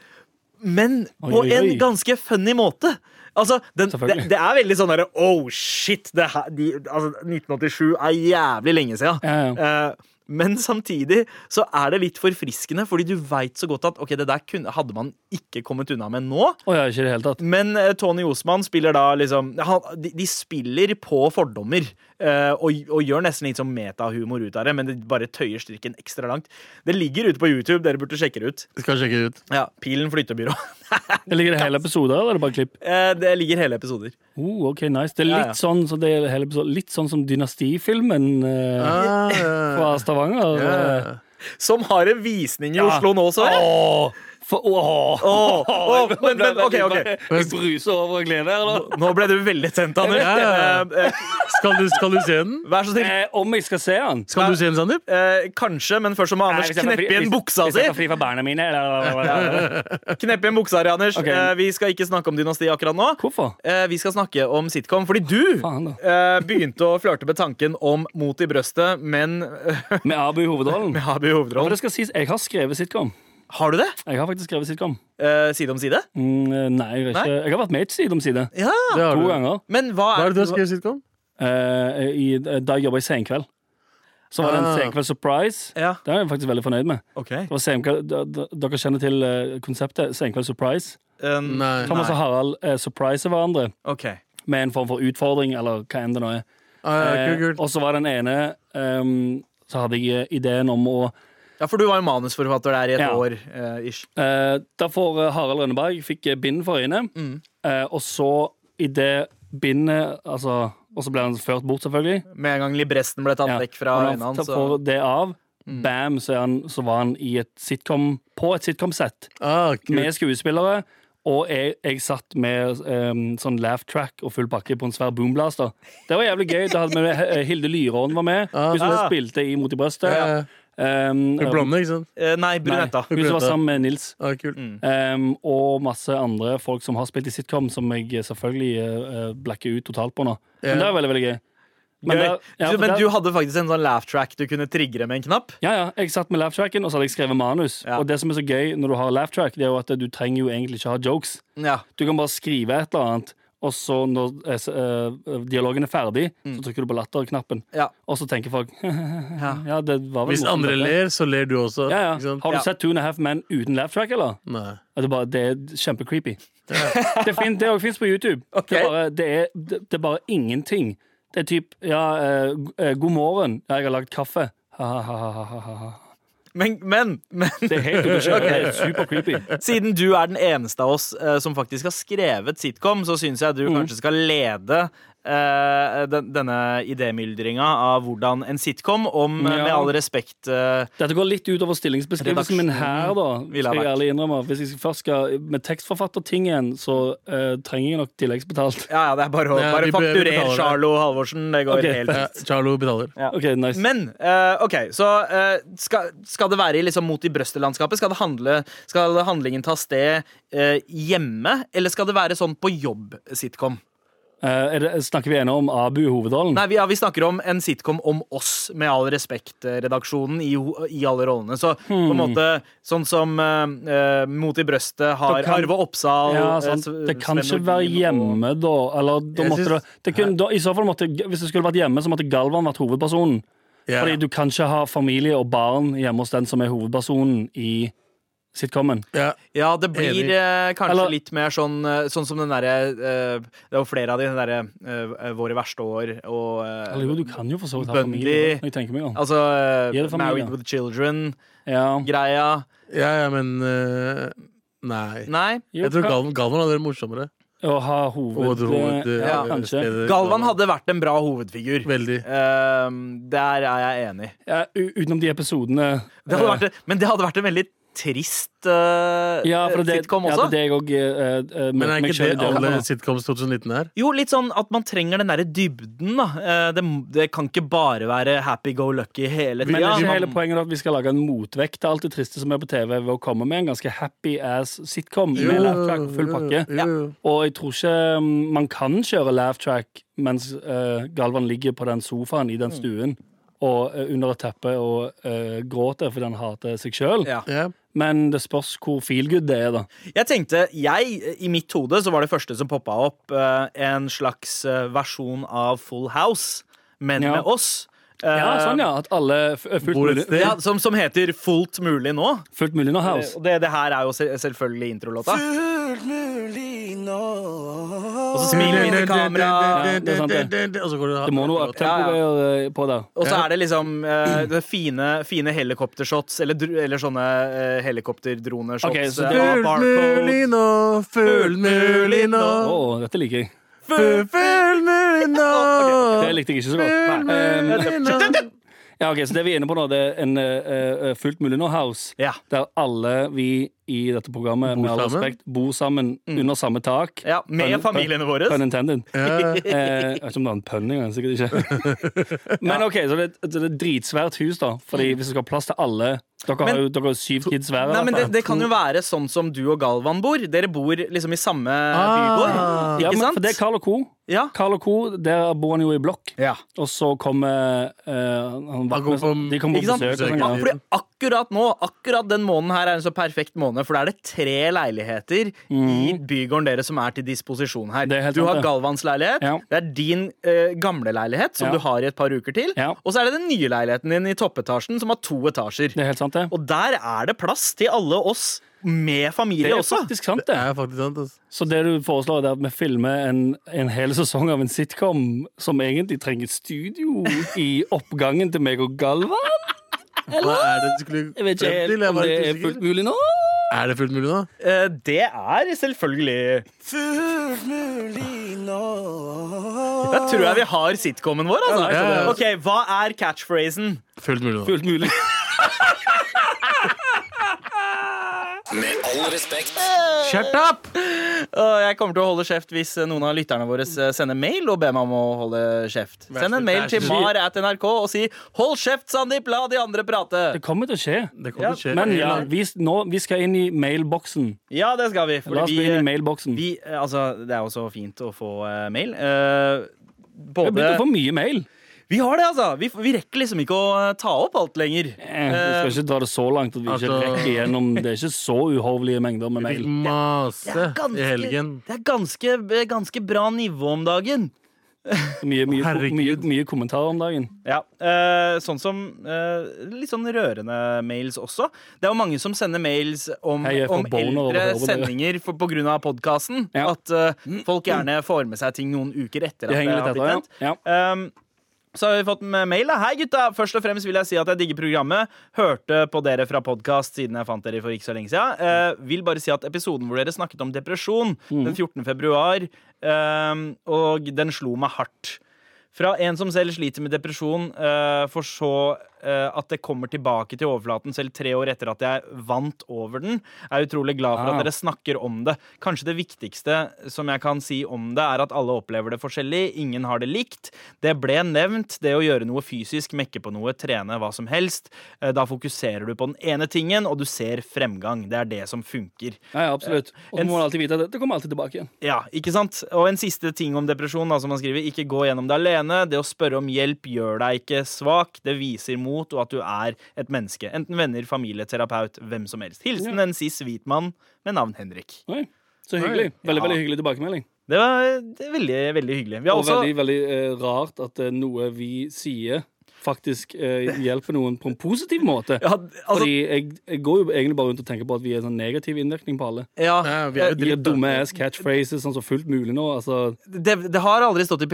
men
Oi,
på
oi, oi.
en ganske funny måte. Altså, den, det,
Selvfølgelig.
det er veldig sånn derre Oh, shit! Det her, de, altså, 1987 er jævlig lenge siden.
Ja,
Eh, men samtidig så er det litt forfriskende, fordi du veit så godt at ok, det der kunne, hadde man ikke kommet unna med nå.
Å ja, ikke i det hele tatt.
Men eh, Tony Osman spiller da liksom han, de, de spiller på fordommer eh, og, og gjør nesten litt sånn metahumor ut av det, men det bare tøyer strikken ekstra langt. Det ligger ute på YouTube, dere burde sjekke det ut.
Skal sjekke det ut.
Ja, Pilen flyttebyrå.
Det ligger det hele episoder, eller er det bare klipp?
Eh, det ligger hele episoder.
Oh, ok, nice. Det er
Ja, ja.
litt sånn, så det er hele episoder, litt sånn som Dynastifilmen eh,
Ah,
fra Stavanger.
ja.
eh.
Som har en visning i
Ja.
Oslo nå, så. jeg.
Åh, for, åh.
Åh, åh, men, men, ok, ok.
Jeg bruser over av glede her, da.
Nå ble du veldig tent, Anders.
Ja, ja, ja.
Eh, eh,
Skal du, skal du se den?
Vær så snill.
Eh, om jeg skal se han
Skal du se den, Sandeep?
Eh, kanskje, men først så må Anders
Nei, hvis jeg får fri-
kneppe igjen
hvis-
buksa
Hvis
si.
jeg får fri fra barna mine eller-
Kneppe igjen buksa di, Anders.
Ok.
Eh, vi skal ikke snakke om dynasti akkurat nå.
Hvorfor?
Eh, vi skal snakke om sitcom, fordi du
Faen, da.
eh, begynte å flørte med tanken om Mot i brøstet, men eh,
Med Abu i hovedrollen
med Abu i
For
hovedrollen.
det skal sies, jeg har skrevet sitcom
Har du det?
Jeg har faktisk skrevet sitcom
Eh, side om side?
mm, eh, Nei, jeg, har ikke, jeg har vært med i Side om side
Ja!
Det har
To
du.
ganger
Men hva
Hva
er
er det du har skrevet sitcom?
eh, i, Da jeg jobbet i Senkveld Så var det en
Ah.
Senkveld Surprise
Ja,
Det er jeg faktisk veldig fornøyd med
ok
Det var Senkveld, d- d- Dere kjenner til eh, konseptet Senkveld Surprise
Eh,
Nei.
Thomas og Harald eh, surpriser hverandre
Ok
Med en form for utfordring Eller hva enn det nå er
Ah, ja,
Eh,
kult, kult.
og så var den ene ehm, Så hadde jeg eh, ideen om å
Ja, for du var jo manusforfatter der i et
Ja.
år eh, ish.
eh, Da får eh, Harald Rønneberg Fikk eh, bind for øynene
Mm.
eh, Og så i det bindet altså, Og så ble han ført bort selvfølgelig
Med en gang libresten ble tatt
Ja.
vekk fra
Og
øynene
når han
hans.
tar-
så- Mm.
får det av Bam, så, er han, så var han i et sitcom På et sitcom-sett
Ah, kult.
Med skuespillere og jeg, jeg satt med ehm, sånn laugh track og full pakke på en svær boomblaster. Det var jævlig gøy. Da hadde vi eh, Hilde Lyråen var med.
Ah.
Hun som
Ah.
spilte i Mot i brøstet.
Ja, ja.
Ehm,
Med blonde, ikke sant?
Eh, Nei, brunetta.
Hun som var sammen med Nils.
Ah, kult.
Mm.
ehm, og masse andre folk som har spilt i sitcom, som jeg selvfølgelig eh, eh, blacker ut totalt på nå.
Ja.
Men det er veldig, veldig gøy. Men,
Gøy.
der, ja,
Du-
for
Men
der,
du hadde faktisk en sånn laugh track du kunne triggere med en knapp.
ja, ja, jeg satt med laugh tracken, og så hadde jeg skrevet manus.
Ja.
Og det som er så gøy når du har laugh track, det er jo at du trenger jo egentlig ikke ha jokes.
Ja.
Du kan bare skrive et eller annet, og så når eh, s- eh, dialogen er ferdig,
Mm.
så trykker du på latterknappen,
Ja.
og så tenker folk Ja, det var vel
Hvis
morsomt,
andre
dette."
ler, så ler du også.
ja,
Ikke
ja.
sant?
Har du
Ja.
sett Two and a Half Men uten laugh track, eller?
Nei.
At det, bare, det er kjempecreepy. Det, fin, det fins på YouTube. Det, er bare, det, er, det, det er bare ingenting. Det er typ ja, eh, g- eh, 'God morgen, ja, jeg har lagd kaffe'. Ha-ha-ha.
Men, men, men
Det er helt ubeskjedent. Det er super creepy.
siden du er den eneste av oss eh, som faktisk har skrevet sitcom, så syns jeg du kanskje skal lede eh, den, denne idémyldringa av hvordan en sitcom, om eh, med
Ja.
all respekt eh,
Dette går litt utover stillingsbeskrivelsen min her, da.
Ville ha
Skal jeg
vært.
ærlig innrømme Hvis jeg først skal med tekstforfatterting igjen, så eh, trenger jeg nok tilleggsbetalt.
Ja, ja, det er bare å
Ja,
bare
vi bør
fakturer
betale det.
Charlo Halvorsen. Det går
Ok.
helt
Ja, Charlo betaler.
OK, nice.
Men eh, OK, så eh, skal, skal det være i liksom mot i brøstet-landskapet? Skal, det handle- skal handlingen ta sted eh, hjemme, eller skal det være sånn på jobb-sitcom?
Eh, er det, snakker vi ennå om Abu i hovedrollen?
Nei, vi, ja, vi snakker om en sitcom om oss, med all respekt, eh, redaksjonen i, ho- i alle rollene. Så
Hmm.
på en måte, sånn som eh, eh, Mot i brøstet har
Da kan-
Arve Oppsal
Ja,
eh,
sant.
Sve-
Det kan ikke
Sven
være
Nordin og-
hjemme, da. Eller, da
Jeg
måtte
syns-
det, det kunne, da, I så fall måtte Hvis det skulle vært hjemme, så måtte Galvan vært hovedpersonen.
Ja.
Fordi du kan ikke ha familie og barn hjemme hos den som er hovedpersonen i sitcomen.
Ja.
Ja, det blir
Enig.
eh, kanskje
Eller-
litt mer sånn eh, Sånn som den derre eh, Det var flere av de, den derre eh, Våre verste år og eh,
Eller jo, du kan jo for så vidt ha
Bundy-
familie. Når jeg tenker meg om.
Altså eh,
Gjelder familie.
Married with Children-greia.
Ja.
ja, ja, men eh, Nei.
Nei.
Jo,
Jeg tror
kan-
Galvan, Galvan hadde vært morsommere.
Å ha hoved... eh,
Hoved, hoved,
ja,
ja,
kanskje.
stedet-
Galvan hadde vært en bra hovedfigur.
Veldig.
Eh, der er jeg enig.
Ja, u- utenom de episodene eh,
Det hadde vært, men det hadde vært en veldig trist eh,
ja, for det,
sitcom
Ja,
også.
det er det jeg òg uh,
Men er ikke det alle
alle
sitcoms 2019 er?
Jo, litt sånn at man trenger den derre dybden, da. Eh, det, det kan ikke bare være happy go lucky hele
Men
tida.
er ikke hele poenget at vi skal lage en motvekt til alt det triste som er på TV, ved å komme med en ganske happy ass sitcom med laugh track og full pakke?
Jo, jo, jo.
Og jeg tror ikke mm, man kan kjøre laugh track mens eh, Galvan ligger på den sofaen i
Mm.
den stuen og eh, under et teppe og eh, gråter fordi han hater seg sjøl.
Ja.
Ja.
Men det spørs hvor feelgood det er, da.
Jeg tenkte, jeg, I mitt hode så var det første som poppa opp, eh, en slags eh, versjon av Full House, men
Ja.
med oss. Eh,
Ja, sånn, ja. At alle f- fullt
Bor et
mulig,
sted.
ja, som, som heter Fullt mulig nå.
fullt mulig nå, altså.
Eh,
House.
Og det, det her er jo se- selvfølgelig introlåta.
Fullt mulig nå
Og så smiler vi inn i kamera.
Ja, det er sant det.
Og så går
Det må noe temporær på der.
Og så er det liksom eh, det fine, fine helikoptershots, eller, dr- eller sånne eh, helikopterdroneshots.
Ok, så
eh,
det-
av
Fullt mulig
barcodes.
nå, fullt mulig nå,
Å, dette liker jeg.
fullt mulig nå.
Det likte jeg ikke så godt. eh,
Fullt mulig nå.
Ja, ok, Så det vi er inne på nå, det er en eh, eh, fullt mulig nå-house.
Ja.
Der alle vi i dette programmet
Bor
med all
sammen.
respekt, bor sammen under samme tak.
Mm. Ja, med
Pun-
familiene
pun-
våre.
Pun intended.
Ja.
Eh, jeg vet ikke om det er en pønn engang. Sikkert ikke. Men ok, så det, så det er et dritsvært hus, da. Fordi hvis det skal ha plass til alle Dere
Mm. Men-
har jo dere har syv kids hver.
Nei,
eller
men
noe.
det, det kan jo være sånn som du og Galvan bor. Dere bor liksom i samme bygård.
ja,
ikke
men,
sant?
for det er Carl og Co.
Ja.
Carl og Co, Der bor han jo i blokk.
Ja.
Og så kommer eh,
Han
han,
kom på-
De kommer
Ikke
på
sant?
besøk. og sånn
Ja,
greier.
fordi akkurat nå, akkurat den måneden her er en så perfekt måned, for da er det tre leiligheter i bygården dere som er til disposisjon her.
Mm. Det er helt
Du
sant,
har
det.
Galvans leilighet,
Ja.
det er din eh, gamle leilighet, som
Ja.
du har i et par uker til,
Ja.
og så er det den nye leiligheten din i toppetasjen, som har to etasjer.
Det er helt sant, det.
Og der er det plass til alle oss med
Det
familie
er
også.
faktisk sant,
Det
det.
er faktisk sant. altså. ass.
Så det du foreslår, er at vi filmer en, en hel sesong av en sitcom som egentlig trenger et studio i oppgangen til meg og Galvan?
Hva er det du skulle
Jeg
frem
vet ikke
til?
helt
Jeg
om
var
det
litt
er
usikker.
fullt mulig nå.
Er det fullt mulig nå?
Eh, det er selvfølgelig
Fullt mulig nå.
Jeg tror jeg vi har sitcomen vår, altså.
Ja, ja, ja.
Ok, hva er catchphrasen?
Fullt mulig nå.
Fullt mulig.
Med all respekt.
Shut up!
Og jeg kommer til å holde kjeft hvis eh, noen av lytterne våre eh, sender mail og ber meg om å holde kjeft.
Vær
Send
snill,
en mail
vær
til
snill.
mar at nrk og si 'hold kjeft, Sandeep, la de andre prate'.
Det kommer til å skje.
Det kommer til å skje.
Men ja, vi, s- nå, vi skal inn i mailboksen.
Ja, det skal vi.
La
For
oss
vi,
gå inn i mailboksen.
vi eh, Altså, det er jo så fint å få eh, mail. Eh,
Vi har begynt
både
å få mye mail.
Vi har det, altså. Vi, vi rekker liksom ikke å eh, ta opp alt lenger.
Eh, Vi skal ikke dra det så langt at vi ikke
altså-
rekker igjennom. Det er ikke så uhovlige mengder med mail.
Masse i helgen.
det er ganske, eh, ganske bra nivå om dagen.
Mye, mye,
Herregud.
mye, mye kommentarer om dagen.
Ja, eh, Sånn som eh, litt sånn rørende mails også. Det er jo mange som sender mails om,
Hei, jeg får
om
boner av å
eldre
høre på dere.
sendinger for, på grunn av podkasten.
Ja.
At eh, folk gjerne får med seg ting noen uker etter at
Det
det
henger litt
har blitt
etter.
sendt.
Ja. Ja.
Um, så har vi fått med mail. da. Hei, gutta! Først og fremst vil jeg si at jeg digger programmet. Hørte på dere fra podkast siden jeg fant dere for ikke så lenge siden. Eh, vil bare si at episoden hvor dere snakket om depresjon
Mhm.
den 14. februar, ehm, og den slo meg hardt. Fra en som selv sliter med depresjon, eh, for så eh, at det kommer tilbake til overflaten selv tre år etter at jeg vant over den, er jeg utrolig glad for
Ah.
at dere snakker om det. Kanskje det viktigste som jeg kan si om det, er at alle opplever det forskjellig. Ingen har det likt. Det ble nevnt, det å gjøre noe fysisk, mekke på noe, trene, hva som helst. Eh, Da fokuserer du på den ene tingen, og du ser fremgang. Det er det som funker.
Ja, ja, absolutt. Og så
En-
må man alltid vite at det kommer alltid tilbake igjen.
Ja, ikke sant? Og en siste ting om depresjon, da, som han skriver. Ikke gå gjennom det alene. Det å spørre om hjelp gjør deg ikke svak. Det viser mot, og at du er et menneske. Enten venner, familie, terapeut, hvem som helst. Hilsen en cis hvit mann med navn Henrik.
Oi. Så hyggelig. Veldig, veldig hyggelig tilbakemelding.
Det var det er veldig, veldig hyggelig. Vi har
Og
også
veldig, veldig eh, rart at eh, noe vi sier, faktisk eh, hjelper noen på en positiv måte.
ja, altså,
Fordi jeg, jeg går jo egentlig bare rundt og tenker på at vi er en sånn negativ innvirkning på alle.
ja, Eh,
Ja, vi er jo
De
dritt,
er
da.
dumme ass catchphrases, sånn som fullt mulig nå. Altså,
det, det har aldri stått i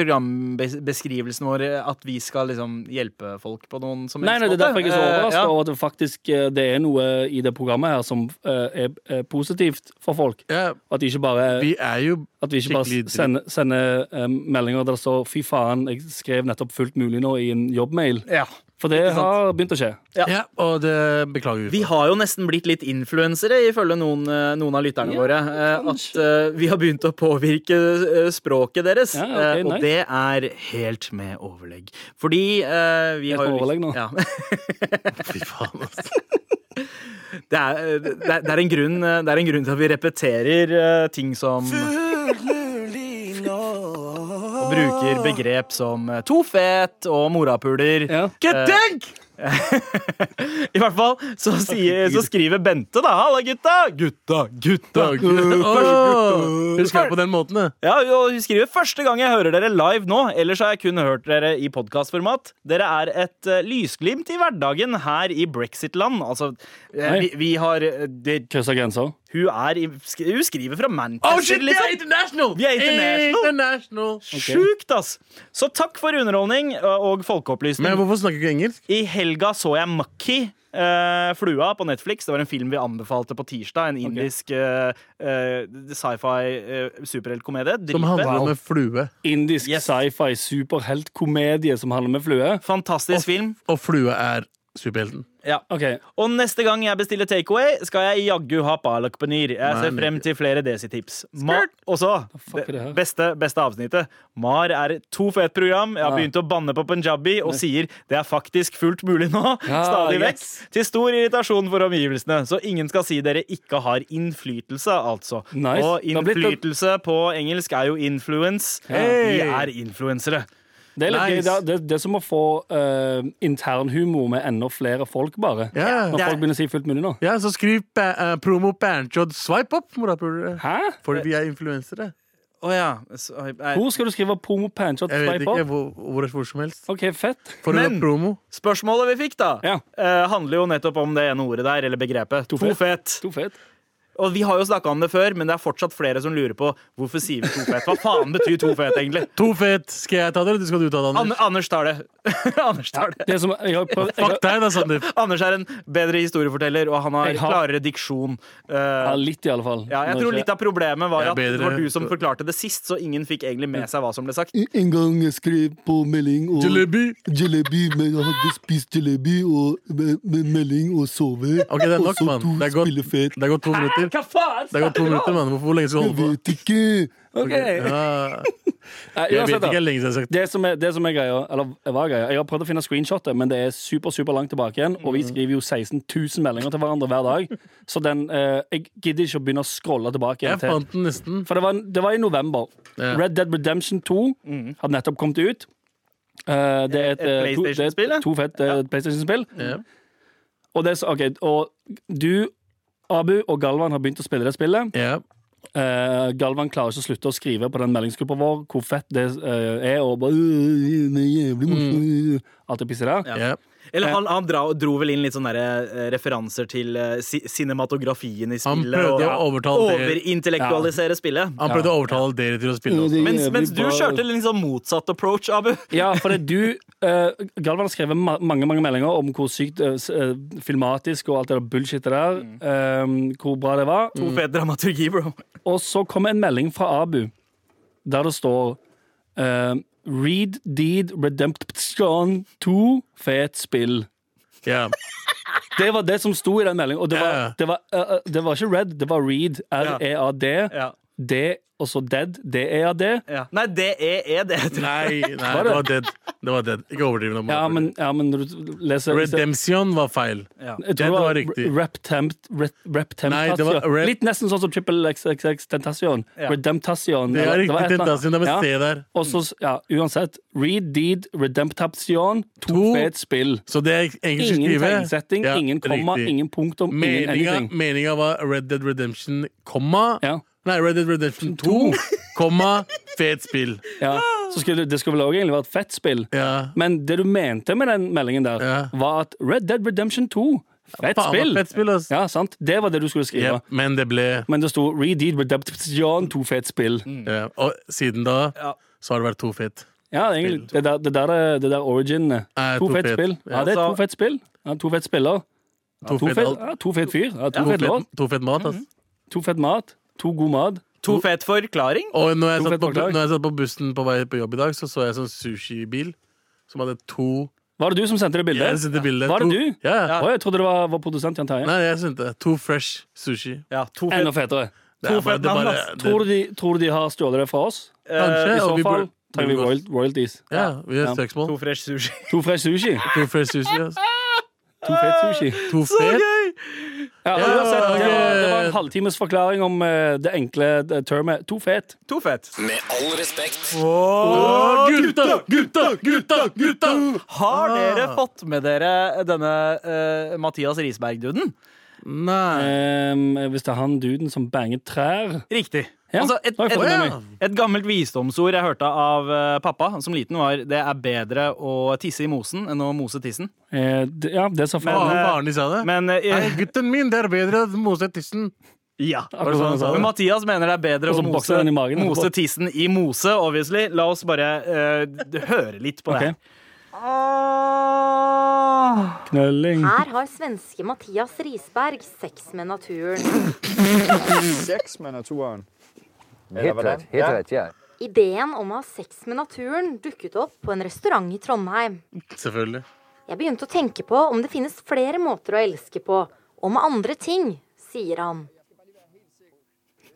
programbeskrivelsen vår at vi skal liksom hjelpe folk på noen som
nei,
helst
nei, det er derfor jeg er så
Eh,
overraska
ja.
over at det faktisk eh, det er noe i det programmet her som eh, er, er positivt for folk.
Ja,
At, de ikke bare,
vi er jo
at vi ikke bare
skikkelig dritt.
sender, sender eh, meldinger der det står 'fy faen, jeg skrev nettopp fullt mulig nå' i en jobbmail.
Ja.
For det har begynt å skje.
Ja.
Ja, og det beklager
Vi
vi.
har jo nesten blitt litt influensere, ifølge noen, eh, noen av lytterne
Ja,
våre. eh, At eh, vi har begynt å påvirke eh, språket deres.
Ja, ok,
eh, og
nice.
det er helt med overlegg. Fordi eh, vi
Helt
har jo
med overlegg
lyst-
nå.
Ja.
for. Fy faen, ass.
Det er, eh, det, er, det, er en grunn, eh, det er en grunn til at vi repeterer eh, ting som
Fullt mulig nå.
Og bruker begrep som eh, to fet og morapuler.
Ja.
Kettenk! I hvert fall så, sier, så skriver Bente, da. Halla, gutta! Gutta, gutta,
Takk. Åh,
gutta.
Husker jeg på den måten, det?
Ja, og Hun skriver første gang jeg hører dere live nå, ellers har jeg kun hørt dere i podkastformat. Dere er et eh, lysglimt i hverdagen her i brexit-land. Altså, eh,
Oi.
vi, vi har eh, det,
Kryssa grenser.
Hun, er i, sk- hun skriver fra Manchester.
Oh shit, vi er
liksom.
international!
Vi er international.
international.
Sjukt, ass! Så takk for underholdning ø, og folkeopplysning.
Men hvorfor snakker du ikke engelsk?
I helga så jeg Mucky. eh, flua på Netflix. Det var en film vi anbefalte på tirsdag. En indisk eh, eh, sci-fi uh, superheltkomedie.
Som handler
Dritfett.
om en flue.
Indisk
Yes.
sci-fi superheltkomedie som handler med flue.
Fantastisk film.
Og flue er superhelten.
Ja.
Ok,
Og neste gang jeg bestiller takeaway, skal jeg jaggu ha palak paneer. Jeg ser
Nei,
frem
men-
til flere Desi-tips. Ma- Og så,
fuck er det her?
det beste, beste avsnittet. Mar er et to fett program. Jeg har
Ja.
begynt å banne på punjabi og sier det er faktisk fullt mulig nå.
Ja,
Stadig vekk.
yes.
Til stor irritasjon for omgivelsene. Så ingen skal si dere ikke har innflytelse, altså.
Nice.
Og
Det har blitt en-
innflytelse på engelsk er jo influence. Vi er influensere.
Det er litt
Nice.
gøy. Det, er- det, det er som å få eh, internhumor med enda flere folk, bare.
Ja,
Når
Det er-
folk begynner å si fullt mulig nå.
ja så skriv pa eh, promo Panchod swipe opp, morapulere.
Hæ?
For vi er influensere.
Å ja. Så- jeg-
Hvor skal du skrive promo panshot
Jeg vet
swipe
ikke
up?
hvor, hvor, hvor som helst.
OK, fett.
For å
Men-
gjøre promo.
Spørsmålet vi fikk, da,
Ja.
eh, handler jo nettopp om det ene ordet der, eller begrepet.
Tofet.
Tofet.
To fett.
Og vi har jo snakka om det før, men det er fortsatt flere som lurer på hvorfor sier vi tofet. Hva faen betyr tofet, egentlig?
To fett! Skal jeg ta det, eller du skal du ta det,
An
Anders?
Anders tar det. Anders tar det.
Det er som, jeg har prøvd, jeg
Fuck
har,
deg, da, Sandeep.
Anders er en bedre historieforteller, og han har,
Jeg har-
klarere diksjon. Eh,
ja, litt, i alle fall.
ja, jeg tror litt av problemet var
Jeg er
at det var
bedre-
du som forklarte det sist, så ingen fikfikk egentlig med seg hva som ble sagt.
En gang jeg skrev på melding og
Jalebi.
Jalebi, men jeg hadde spist jalebi og med, med melding og sove.
Ok, det er nok,
og så
mann.
to
Det er godt.
spillefet.
Det har gått to minutter.
Hva faen?
Det har gått to minutter, mann. Hvor lenge skal vi
Jeg
holde på?
vet ikke.
Ok.
Ja,
Nei,
jeg
uansett,
vet
da.
ikke hvor lenge siden jeg har sagt
Det som, er, det som er greia, eller var greia Jeg har prøvd å finne screenshotet, men det er super, super langt tilbake igjen. Og vi
Mm.
skriver jo 16 000 meldinger til hverandre hver dag. Så den, eh, jeg gidder ikke å begynne å scrolle tilbake.
Jeg
igjen til
fant den nesten.
For det var, det var i november.
Ja.
Red Dead Redemption 2 hadde nettopp kommet ut. Eh, det er
Et
et, eh, to- det er
PlayStation-spill, ja?
To fett eh, PlayStation-spill.
Ja.
Og, det, er så- ok, og du, Abu og Galvan har begynt å spille det spillet.
Ja.
Eh, Galvan klarer ikke å slutte å skrive på den meldingsgruppa vår hvor fett det eh, er. Og bare,
Øh, det er jævlig morsomt.
øh, alt det pisset der.
Ja.
Eller han, han dra, dro vel inn litt sånne der, eh, referanser til eh, si, cinematografien i
Han
spillet. og-
prøvde å overtale dere-
Overintellektualisere spillet.
Han prøvde å overtale dere til å
Ja,
spille
det
også.
er
Mens,
jævlig
mens du
bra.
kjørte litt sånn motsatt approach, Abu.
Ja, for det du eh, Galvan har skrevet ma mange mange meldinger om hvor sykt eh, s- eh, filmatisk og alt det der bullshitet der. eh, hvor bra det var.
To fet dramaturgi, bro.
Og så kommer en melding fra Abu, der det står eh, Read Deed Redemption 2, fet spill.
Ja.
Det var det som sto i den meldingen. Og det var,
Ja.
det var, eh, eh, det var ikke Red, det var Read. R-E-A-D.
Ja.
D, og så Dead. E D-E-A-D.
Ja. Nei, det er, er det. tror jeg.
Nei, nei, det var dead. Det var dead. Ikke overdriv nå.
Ja, men, ja, men når du leser
Redemption var feil.
Ja.
Den
Jeg tror det var
var riktig.
Reptempt Reptempt
Nei, det var rep-
Litt nesten sånn som Triple XXX Tentation.
Ja.
Redemptation.
Det er
eller-
riktig
var et eller annet.
tentasjon. Det er med
Ja.
C der.
Og så, ja, uansett. Read deed redemptation. To,
To.
fet spill.
Så det er egentlig ikke
Ingen
skrive.
tegnsetting,
Ja,
ingen komma,
riktig.
ingen punktum, ingen
Meninga,
anything.
meninga var Red Dead Redemption, komma
Ja.
Nei, Red Dead Redemption 2, komma, fet spill.
Ja. Så skulle, det skulle vel også egentlig vært fett spill.
Ja.
Men det du mente med den meldingen der,
Ja.
var at Red Dead Redemption 2, fett
Faen,
spill.
fett spill, ass.
Ja, sant? Det var det du skulle skrive.
Ja, men det ble
Men det sto Read deed redemption, to fet spill.
ja. Og siden da
Ja.
så har det vært to fet.
Ja, det er egentlig, det der, det der, er- det der origin eh.
Er
To
to
fett
fet.
spill. Ja, det er
Altså-
to fett spill. Ja, to fett spiller.
To,
To
fet,
fett,
alt.
ja, to fett fyr. Ja, to
to,
fett låt.
fet, to fet mat,
Mhm.
ass.
To fett mat. To god mat.
To fet forklaring.
Og når jeg,
To
satt
fett
på,
forslag.
når jeg satt på bussen på vei på jobb i dag, så så jeg sånn sushibil som hadde to
Var det du som sendte det bildet?
Jeg sendte bilde.
Var det
To-
du?
Ja.
Å, jeg trodde det var vår produsent Jan Terje.
Nei, jeg sendte to fresh sushi.
Ja, to fet,
Enda fetere.
Det er
To fett
det er
navn, ass.
det-
Tror du, de, tror du de har stjålet det fra oss?
Kanskje,
I så
og vi
fall
burde-
trenger vi royal, royalties.
Ja, vi har
Ja.
søksmål.
to fresh sushi.
To fresh sushi.
To fresh sushi. ass.
To fett sushi.
To fet.
Ah! Ja,
Ja,
uansett, det, var,
ok.
det var en halvtimes forklaring om eh, det enkle eh, termet. To fet.
To fet.
Med all respekt.
Å, Gutta, gutta, gutta, gutta!
Har dere fått med dere denne eh, Mathias Risberg-duden?
Nei.
Ehm, hvis det er han duden som banger trær
Riktig.
Ja,
Altså, et,
da har jeg
et,
fått det
med
et gammelt visdomsord jeg hørte av eh, pappa som liten, var det er bedre å tisse i mosen enn å mose tissen.
eh, d- Ja, det sa
Faen,
faren.
faren din sa det.
Men eh,
Nei, gutten min, det er bedre enn Mose Tissen.
Ja.
Akkurat sånn han sa det.
Men Mathias mener det er bedre
Og
å
så bokser
mose,
den i magen etterpå.
mose tissen i mose, obviously. La oss bare eh, d- høre litt på det.
Ok. Knølling.
Her har svenske Mathias Risberg sex med naturen.
Sex med naturen.
Helt rätt, helt rätt ja.
Ideen om å ha sex med naturen dukket opp på en restaurant i Trondheim.
Selvfølgelig.
Jeg begynte å tenke på om det finnes flere måter å elske på, og med andre ting, sier han.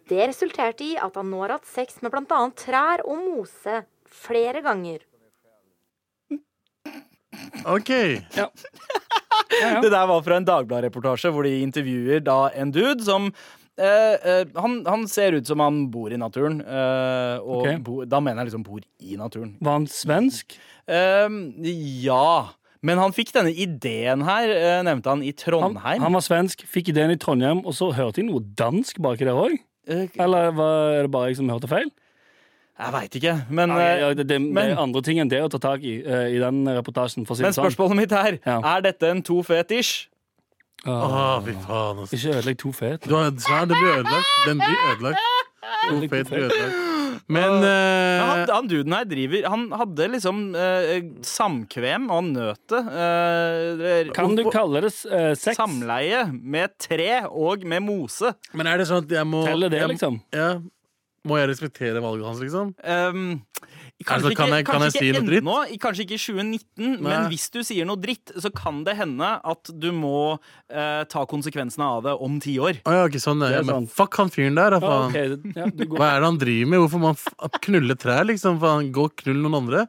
Det resulterte i at han nå har hatt sex med bl.a. trær og mose flere ganger.
OK.
Det der var fra en Dagblad-reportasje hvor de intervjuer da en dude som eh, eh, han, han ser ut som han bor i naturen. eh, og
Ok.
bo, da mener jeg liksom bor i naturen.
Var han svensk?
Eh, ja. Men han fikk denne ideen her, eh, nevnte han, i
Han,
Trondheim.
han var svensk, fikk ideen i Trondheim, og så hørte jeg noe dansk baki der òg.
Eh,
Eller var det bare jeg som hørte feil?
jeg veit ikke, men
Nei, ja,
eh,
det, det, det
men-
er andre ting enn det å ta tak i eh, i den reportasjen. For å si
Men
det sånn.
spørsmålet mitt er
Ja.
Er dette en to fetisj?
Åh,
Å, fy faen. ass.
ikke ødelegg to fet.
Du har et sverd, det blir ødelagt. Den blir ødelagt. To fate blir ødelagt. Men
Men
eh,
Han, han duden her driver Han hadde liksom eh, samkvem, og han nøt det. eh, det-
Kan du kalle det eh, sex?
Samleie med tre og med mose.
Men er det sånn at jeg må
Teller det,
jeg-
liksom?
Ja. Må jeg respektere valget hans, liksom?
Um,
Altså, kan jeg- kan
kanskje
jeg si
ikke
noe dritt?
ennå, i- kanskje ikke i 2019, men
Nei.
hvis du sier noe dritt, så kan det hende at du må eh, ta konsekvensene av det om ti år.
Å ja, ikke sånn.
Det
Ja,
er
men
sant.
fuck han fyren der, da,
Ja,
faen.
ok, det- ja, du går.
Hva er det han driver med? Hvorfor må han f- knulle trær, liksom? Faen, gå og knull noen andre.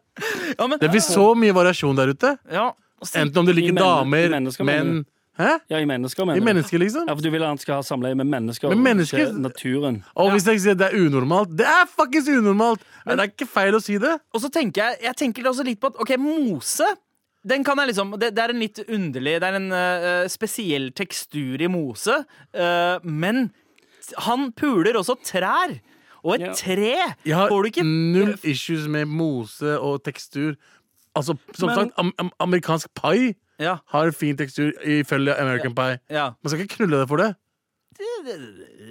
Ja, men,
Det blir så mye variasjon der ute.
ja, si-
Enten om det
I
ligger
men-
damer,
i mennesker,
menn
mener
Hæ?
Ja, i mennesker,
I
mener du?
mennesker, liksom?
Ja, for du vil at han skal ha samleie med mennesker,
Med mennesker?
ikke naturen.
Og hvis jeg sier det er unormalt Det er fuckings unormalt! det er ikke feil å si det.
Og så tenker jeg, jeg tenker også litt på at Ok, mose den kan jeg liksom, det, det er en litt underlig Det er en eh, spesiell tekstur i mose eh, Men han puler også trær Og et
Ja.
tre
Jeg har
får du ikke
null issues med mose og tekstur. Altså, som
Men-
sagt, am am amerikansk pai
Ja,
har fin tekstur ifølge American Pie.
ja
Man skal ikke knulle det for det.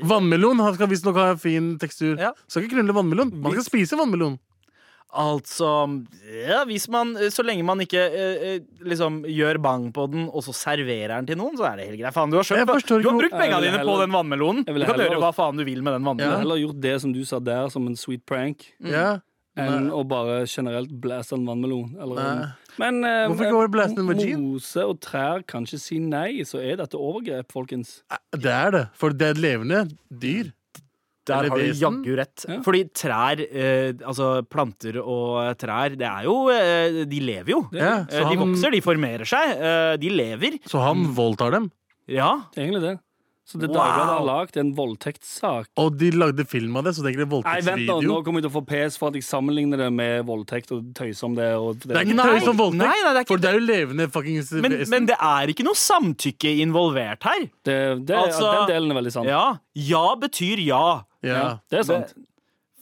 Vannmelon han skal visstnok ha fin tekstur.
Ja.
Skal ikke knulle vannmelon. Man skal spise vannmelon.
Altså, ja, hvis man Så lenge man ikke eh, eh, liksom gjør bang på den Og så serverer den til noen Så er det helt greit Faen, du har, skjønt,
Jeg
du har
forstår ikke hvor-
brukt pengene
Jeg vil
dine på
heller-
den vannmelonen
Jeg
Du
vil
kan
heller-
gjøre hva faan du vil med den
Jeg
vannmelonen
har heller gjort det som du sa der, som en sweet prank,
Mm.
Ja.
enn å bare generelt blæse en vannmelon. Eller en...
Nei.
Men eh,
Hvorfor ikke bare blæse en vagin?
mose og trær kan ikke si nei, så er dette overgrep, folkens.
Det er det. For det er et levende dyr.
Der
Eller
har du
vesen.
jaggu rett.
Ja.
Fordi trær, eh, altså planter og trær, det er jo eh, De lever jo.
Ja,
Eh,
så,
de
han,
vokser, Mm. de formerer seg. Eh, de lever.
så han voldtar dem.
Ja.
Det er egentlig det. Så det
Wow.
Dagbladet har lagd en voldtektssak.
Og de lagde film av det, så det er egentlig
Nei, vent da, nå
voldtektsvideo.
kommer jeg til å få pes for at jeg sammenligner det med voldtekt og tøyser om det. Og
Det er ikke
Nei,
tøys om voldtekt,
nei, nei, det er ikke
for det er jo levende fuckings
Men,
vesen.
men det er ikke noe samtykke involvert her.
det, det,
Altså-
Den delen er veldig sant.
Ja. Ja betyr ja.
ja.
Det er sant.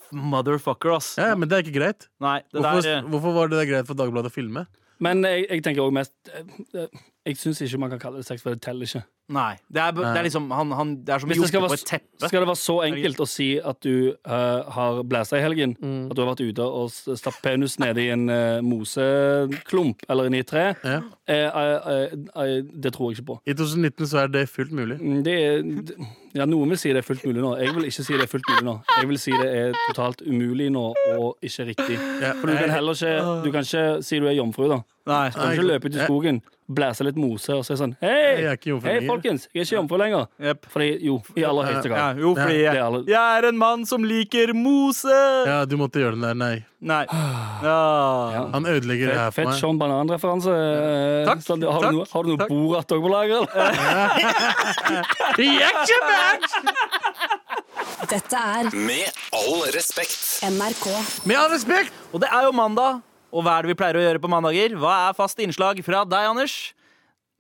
Motherfucker, ass.
ja, men det er ikke greit.
Nei, det
Hvorfor,
der eh,
hvorfor var det der greit for Dagbladet å filme?
Men jeg, jeg tenker også mest eh, eh, Jeg syns ikke man kan kalle det sex, for det teller ikke.
Nei. Det er, det er liksom han, han Det er som
Hvis det
gjort
skal
på
være,
et teppe.
skal det være så enkelt å si at du eh, har blæsa i helgen,
Mm.
at du har vært ute og s- stappet penis ned i en eh, moseklump eller inn i et tre,
Ja.
eh, eh, eh, eh, det tror jeg ikke på.
I 2019 så er det fullt mulig.
Mm, Det er, d- ja, noen vil si det er fullt mulig nå. Jeg vil ikke si det er fullt mulig nå. Jeg vil si det er totalt umulig nå og ikke riktig.
Ja.
For du kan heller ikke Du kan ikke si du er jomfru, da. Du
Nei.
kan ikke løpe ut i skogen, blæse litt mose og si sånn Hei,
Jeg er ikke jomfru
hei
lenger.»
folkens, jeg er ikke jomfru lenger.
Jep.
Fordi jo, i aller høyeste
Ja,
grad.
jo, fordi
Det er alle-
jeg, jeg er en mann som liker mose.
Ja, du måtte gjøre den der, nei.
Nei. Ja.
Han ødelegger det her for
Fett
meg.
Sean Banan-referanse. eh,
Takk,
Sandy. Har,
takk,
du noe- har du noe
takk.
Borat òg på lager? eller?
Dette er
Med all respekt.
NRK.
Med all respekt!
Og det er jo mandag, og hva er det vi pleier å gjøre på mandager? Hva er fast innslag fra deg, Anders?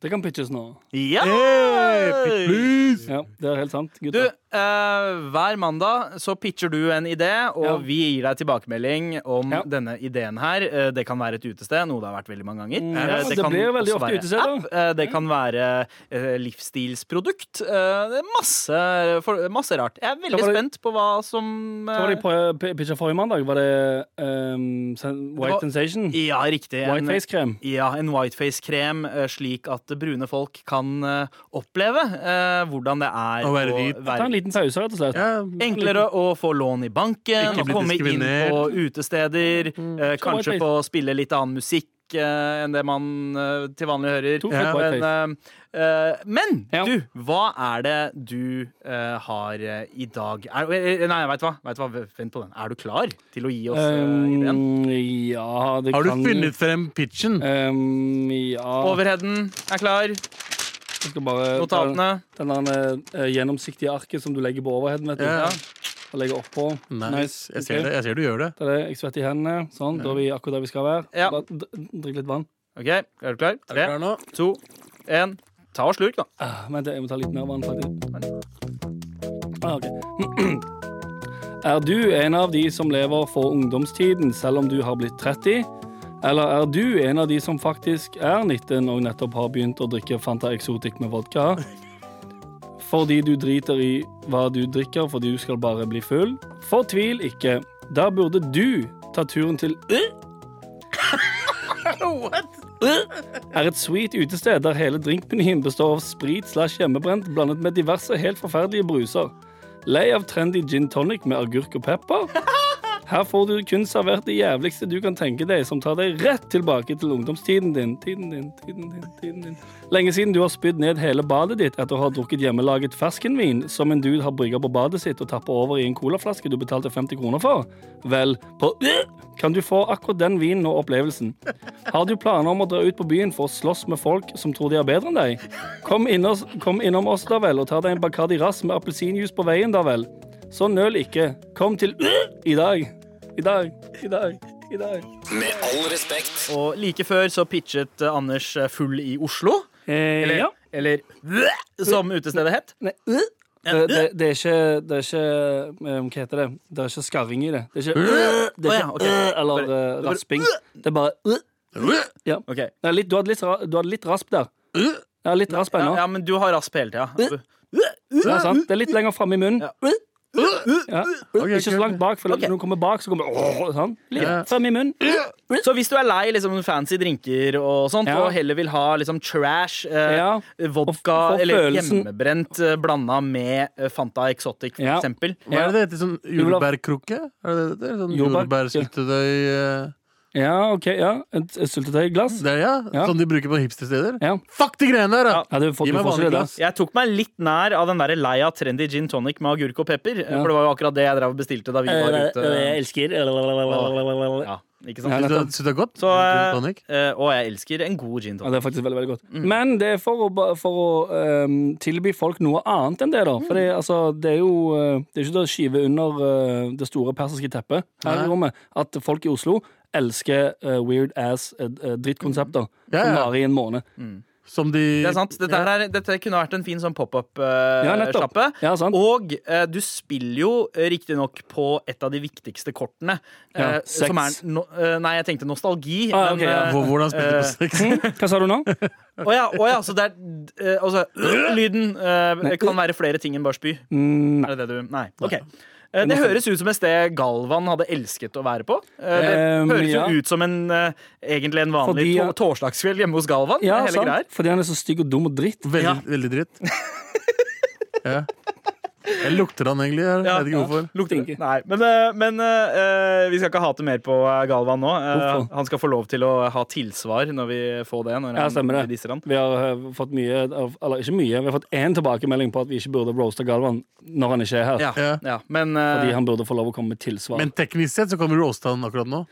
Det kan pitches nå.
Ja!
Hey, please!
Ja, det er helt sant,
Du,
gutter.
eh, hver mandag så pitcher du en idé, og
Ja.
vi gir deg tilbakemelding om
Ja.
denne ideen her. Eh, det kan være et utested, noe det har vært veldig mange ganger.
Mm,
Eh,
ja, det
kan
blir veldig
også
ofte
være
utested,
app. Eh, det kan være eh, livsstilsprodukt. Eh, det er masse, for, masse rart. Jeg er veldig
var det-
spent på hva som eh,
Hva var det jeg prøv- p- pitcha forrige mandag? Var det ehm, sen- White
var-
Sensation?
Ja, riktig. En-
Whiteface-krem?
Ja, en whiteface-krem, eh, slik at brune folk kan eh, oppleve eh, hvordan det er
Å være hvit.
Ta en liten pause, rett og slett.
Ja,
Enklere å få lån i banken,
Ikke bli
komme inn
diskriminert.
på utesteder, eh, kanskje
Mm. whiteface.
få spille litt annen musikk eh, enn det man eh, til vanlig hører.
To fett
Ja. Men, eh, eh, men
Ja.
du, hva er det du eh, har eh, i dag? Er, eh, nei, veit du hva? Vet du hva? Vent på den. Er du klar til å gi oss eh, ideen?
Ehm, ja, det
Har du
kan
funnet frem pitchen?
Ehm, ja
Overheaden er klar.
Jeg skal bare ta den
Notatene.
der, eh, gjennomsiktige arket som du legger på overheaden. vet du.
Ja.
Og legger oppå.
Nice. Jeg
ok.
ser det. Jeg ser du gjør det.
Det er det. Jeg svetter i hendene. Sånn, Da er vi akkurat der vi skal være.
Ja.
Bare d- Drikk litt vann.
OK, er du klar? Tre,
Er du klar nå?
to, én. Ta og slurk, da.
Ah, Vent, jeg må ta litt mer vann, faktisk. Ah, ok. Er du en av de som lever for ungdomstiden selv om du har blitt 30? Eller er du en av de som faktisk er 19 og nettopp har begynt å drikke Fanta Exotic med vodka? Fordi du driter i hva du drikker fordi du skal bare bli full? Fortvil ikke. Der burde du ta turen til er et sweet utested der hele drinkmenyen består av sprit slash hjemmebrent blandet med diverse helt forferdelige bruser. Lei av trendy gin tonic med agurk og pepper? Her får du kun servert det jævligste du kan tenke deg, som tar deg rett tilbake til ungdomstiden din. Tiden din, tiden din, tiden din. Lenge siden du har spydd ned hele badet ditt etter å ha drukket hjemmelaget ferskenvin som en dude har brygga på badet sitt og tappa over i en colaflaske du betalte 50 kroner for. Vel, på øh, kan du få akkurat den vinen og opplevelsen. Har du planer om å dra ut på byen for å slåss med folk som tror de er bedre enn deg? Kom, inn oss, kom innom oss, da vel, og ta deg en Bacardi Rass med appelsinjuice på veien, da vel. Så nøl Sånn ikke. Kom til øh, i dag. I dag. I dag. I dag.
Med all respekt.
Og like før så pitchet eh, Anders eh, Full i Oslo.
Eh,
Eller,
ja.
eller som utestedet het.
Nei, øh. det, det,
øh.
det er ikke, det er ikke eh, Hva heter det? Det er ikke skarring i det. Det er ikke, øh,
Øh. Å ja,
det er ikke
ok. Øh.
Eller eh, rasping. Det er bare øh. ja.
Ok. Øh.
Nei, litt, du, hadde litt, ra- du hadde litt rasp der. Ja, litt rasp
Ja,
ennå.
ja, men du har rasp hele tida.
Ja, sant? Det er litt lenger fram i munnen.
Ja. Øh,
Ja. Ikke så langt bak, for
Ok. Øh.
når du kommer bak, så kommer det åh, sånn. Litt frem i munnen.
Så hvis du er lei liksom, fancy drinker og sånt,
Ja.
og heller vil ha liksom, trash, eh,
Ja. Og f-
vodka
få
eller
følelsen-
hjemmebrent eh, blanda med eh, Fanta Exotic, for
Ja.
eksempel.
Hva er det det heter? Sånn jordbærkrukke? Er det det det heter? Sånn
Jordbær-
jordbærsyltetøy eh,
Ja, ok, ja. Et, et syltetøyglass.
Det er ja?
Ja.
Sånn de bruker på hipstersteder?
Ja.
Fuck de greiene der, da!
Ja, du får,
Gi
du
meg
får ikke
vanlig
det der.
glass.
Jeg tok meg litt nær av den der lei av trendy gin tonic med agurk og pepper. eh, For det var jo akkurat det jeg drev og bestilte da vi
Eh,
var ute.
elsker
eh, Ja, ikke
Ja,
sant?
Syns du det- syns du det er godt?
Så,
Gin
eh,
tonic?
eh, og jeg elsker en god gin tonic.
Ja, det er faktisk veldig, veldig godt. Men det er for å, ba- for å ehm, tilby folk noe annet enn det, da. For det, altså, det er jo eh, Det er ikke til å skyve under eh, det store persiske teppet her
Nei.
i rommet at folk i Oslo elsker eh, weird ass eh, eh, drittkonsepter
Ja,
som
ja.
varer i en måned.
Som de
Det er sant. Dette, her, er- dette kunne vært en fin sånn
Ja, nettopp.
pop-up-sjappe.
Ja, sant.
og eh, du spiller jo eh, riktignok på et av de viktigste kortene.
Ja,
eh, som er
sex.
no, eh, Nei, jeg tenkte nostalgi.
Ah, ok,
men,
ja.
eh,
Hvor- Hvordan spiller de på sex?
Hva sa du nå?
Å ja, å ja, så det er eh, Altså, lyden eh, kan være flere ting enn bare spy.
Mm,
Er det det du Nei. OK. Eh, Det høres ut som et sted Galvan hadde elsket å være på. Eh, Det
Ehm,
høres jo
ja.
ut som en, eh, egentlig en vanlig
Fordi, ja.
to torsdagskveld hjemme hos Galvan.
ja,
hele greia.
sant. Fordi han er så stygg og dum og dritt.
Veldig,
Ja.
veldig dritt. ja. Jeg lukter han egentlig. Jeg
Ja,
vet ikke
ja.
hvorfor.
Lukter
Stinker.
Nei, men, eh, men eh, eh, vi skal ikke hate mer på eh, Galvan nå. Eh,
Hvorfor?
han skal få lov til å ha tilsvar når vi får det. Når
Ja,
han,
stemmer det.
vi disser han.
Vi har eh, fått mye av- Eller ikke mye, vi har fått én tilbakemelding på at vi ikke burde roaste Galvan når han ikke er her.
Ja, ja.
Ja.
Men, eh,
Fordi han burde få lov å komme med tilsvar.
Men teknisk sett så kan vi roaste han akkurat nå.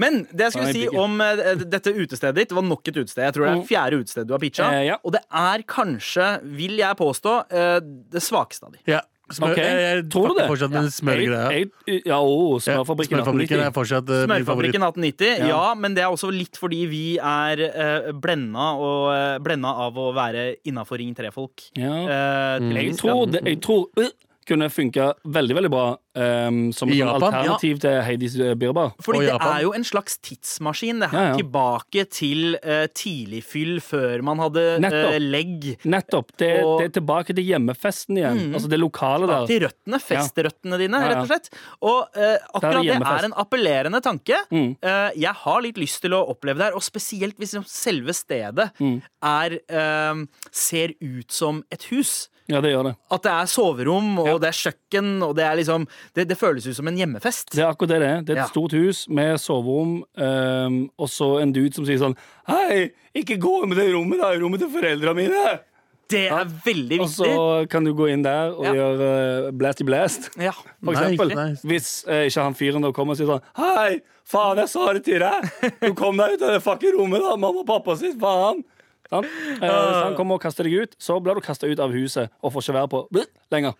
men det jeg skulle
Nei,
si
digger.
om eh, dette utestedet ditt, var nok et utested. Jeg tror det er
Mm.
fjerde utested du har pitcha.
Eh, ja.
Og det er kanskje, vil jeg påstå, eh, det svakeste av de.
Ja. Smør,
Ok,
jeg, jeg
tror du
fucker
det?
Fortsatt med smørgreia.
Jeg- jeg- Ja, å,
Ja,
smørfabrikken.
Smørfabrikken er
1890.
fortsatt eh, min favoritt.
Smørfabrikken 1890, ja.
Ja.
men det er også litt fordi vi er eh, blenda, og, eh, blenda av å være innafor Ring 3-folk.
Ja.
Mm.
Eh, til en
Jeg
viss
tror,
grad.
det, jeg tror øh, kunne funka veldig, veldig bra ehm, som
I
et
Japan?
alternativ til Heidis eh, Birbar.
Fordi
Og
det
Japan.
er jo en slags tidsmaskin. Det er
Ja, ja.
tilbake til eh, tidligfyll før man hadde
Nettopp.
eh, legg.
Nettopp. Det,
Og-
det er tilbake til hjemmefesten igjen.
Mm.
Altså det lokale
Bak
der.
til røttene, festrøttene dine,
Ja, ja.
rett og slett. Og eh, akkurat det
hjemmefest.
er en appellerende tanke.
Mm.
Eh, jeg har litt lyst til å oppleve det her, og spesielt hvis liksom selve stedet
Mm.
er eh, ser ut som et hus.
Ja, det gjør det.
At det er soverom, og
Ja.
det er kjøkken, og det er liksom Det, det føles ut som en hjemmefest.
Det er akkurat det det er. Det er et
Ja.
stort hus med soverom, ehm, og så en dude som sier sånn Hei, ikke gå med det rommet, da! Rommet til foreldrene mine!
Det er veldig
Og
viktig.
så kan du gå inn der og
Ja.
gjøre eh, blasty blast.
Ja.
For
Nei,
eksempel,
nice.
hvis eh, ikke han fyren da kommer og sier sånn Hei, faen, jeg sa det til deg! Du kom deg ut av det fucking rommet, da! Mamma og pappa sitt, faen! Sant? Eh, hvis
Ah.
han kommer og kaster deg ut, så blir du kasta ut av huset og får ikke være på blip, lenger.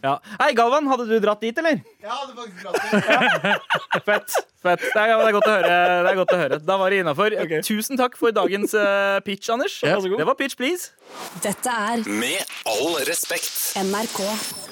Ja. Hei, Galvan, hadde du dratt dit, eller?
Jeg hadde faktisk dratt det.
Fett. fett. Det, er, det, er godt å høre. det er godt å høre. Da var det innafor. Tusen takk for dagens eh, pitch, Anders.
så god.
Det var pitch, please.
Dette er
Med all respekt.
NRK.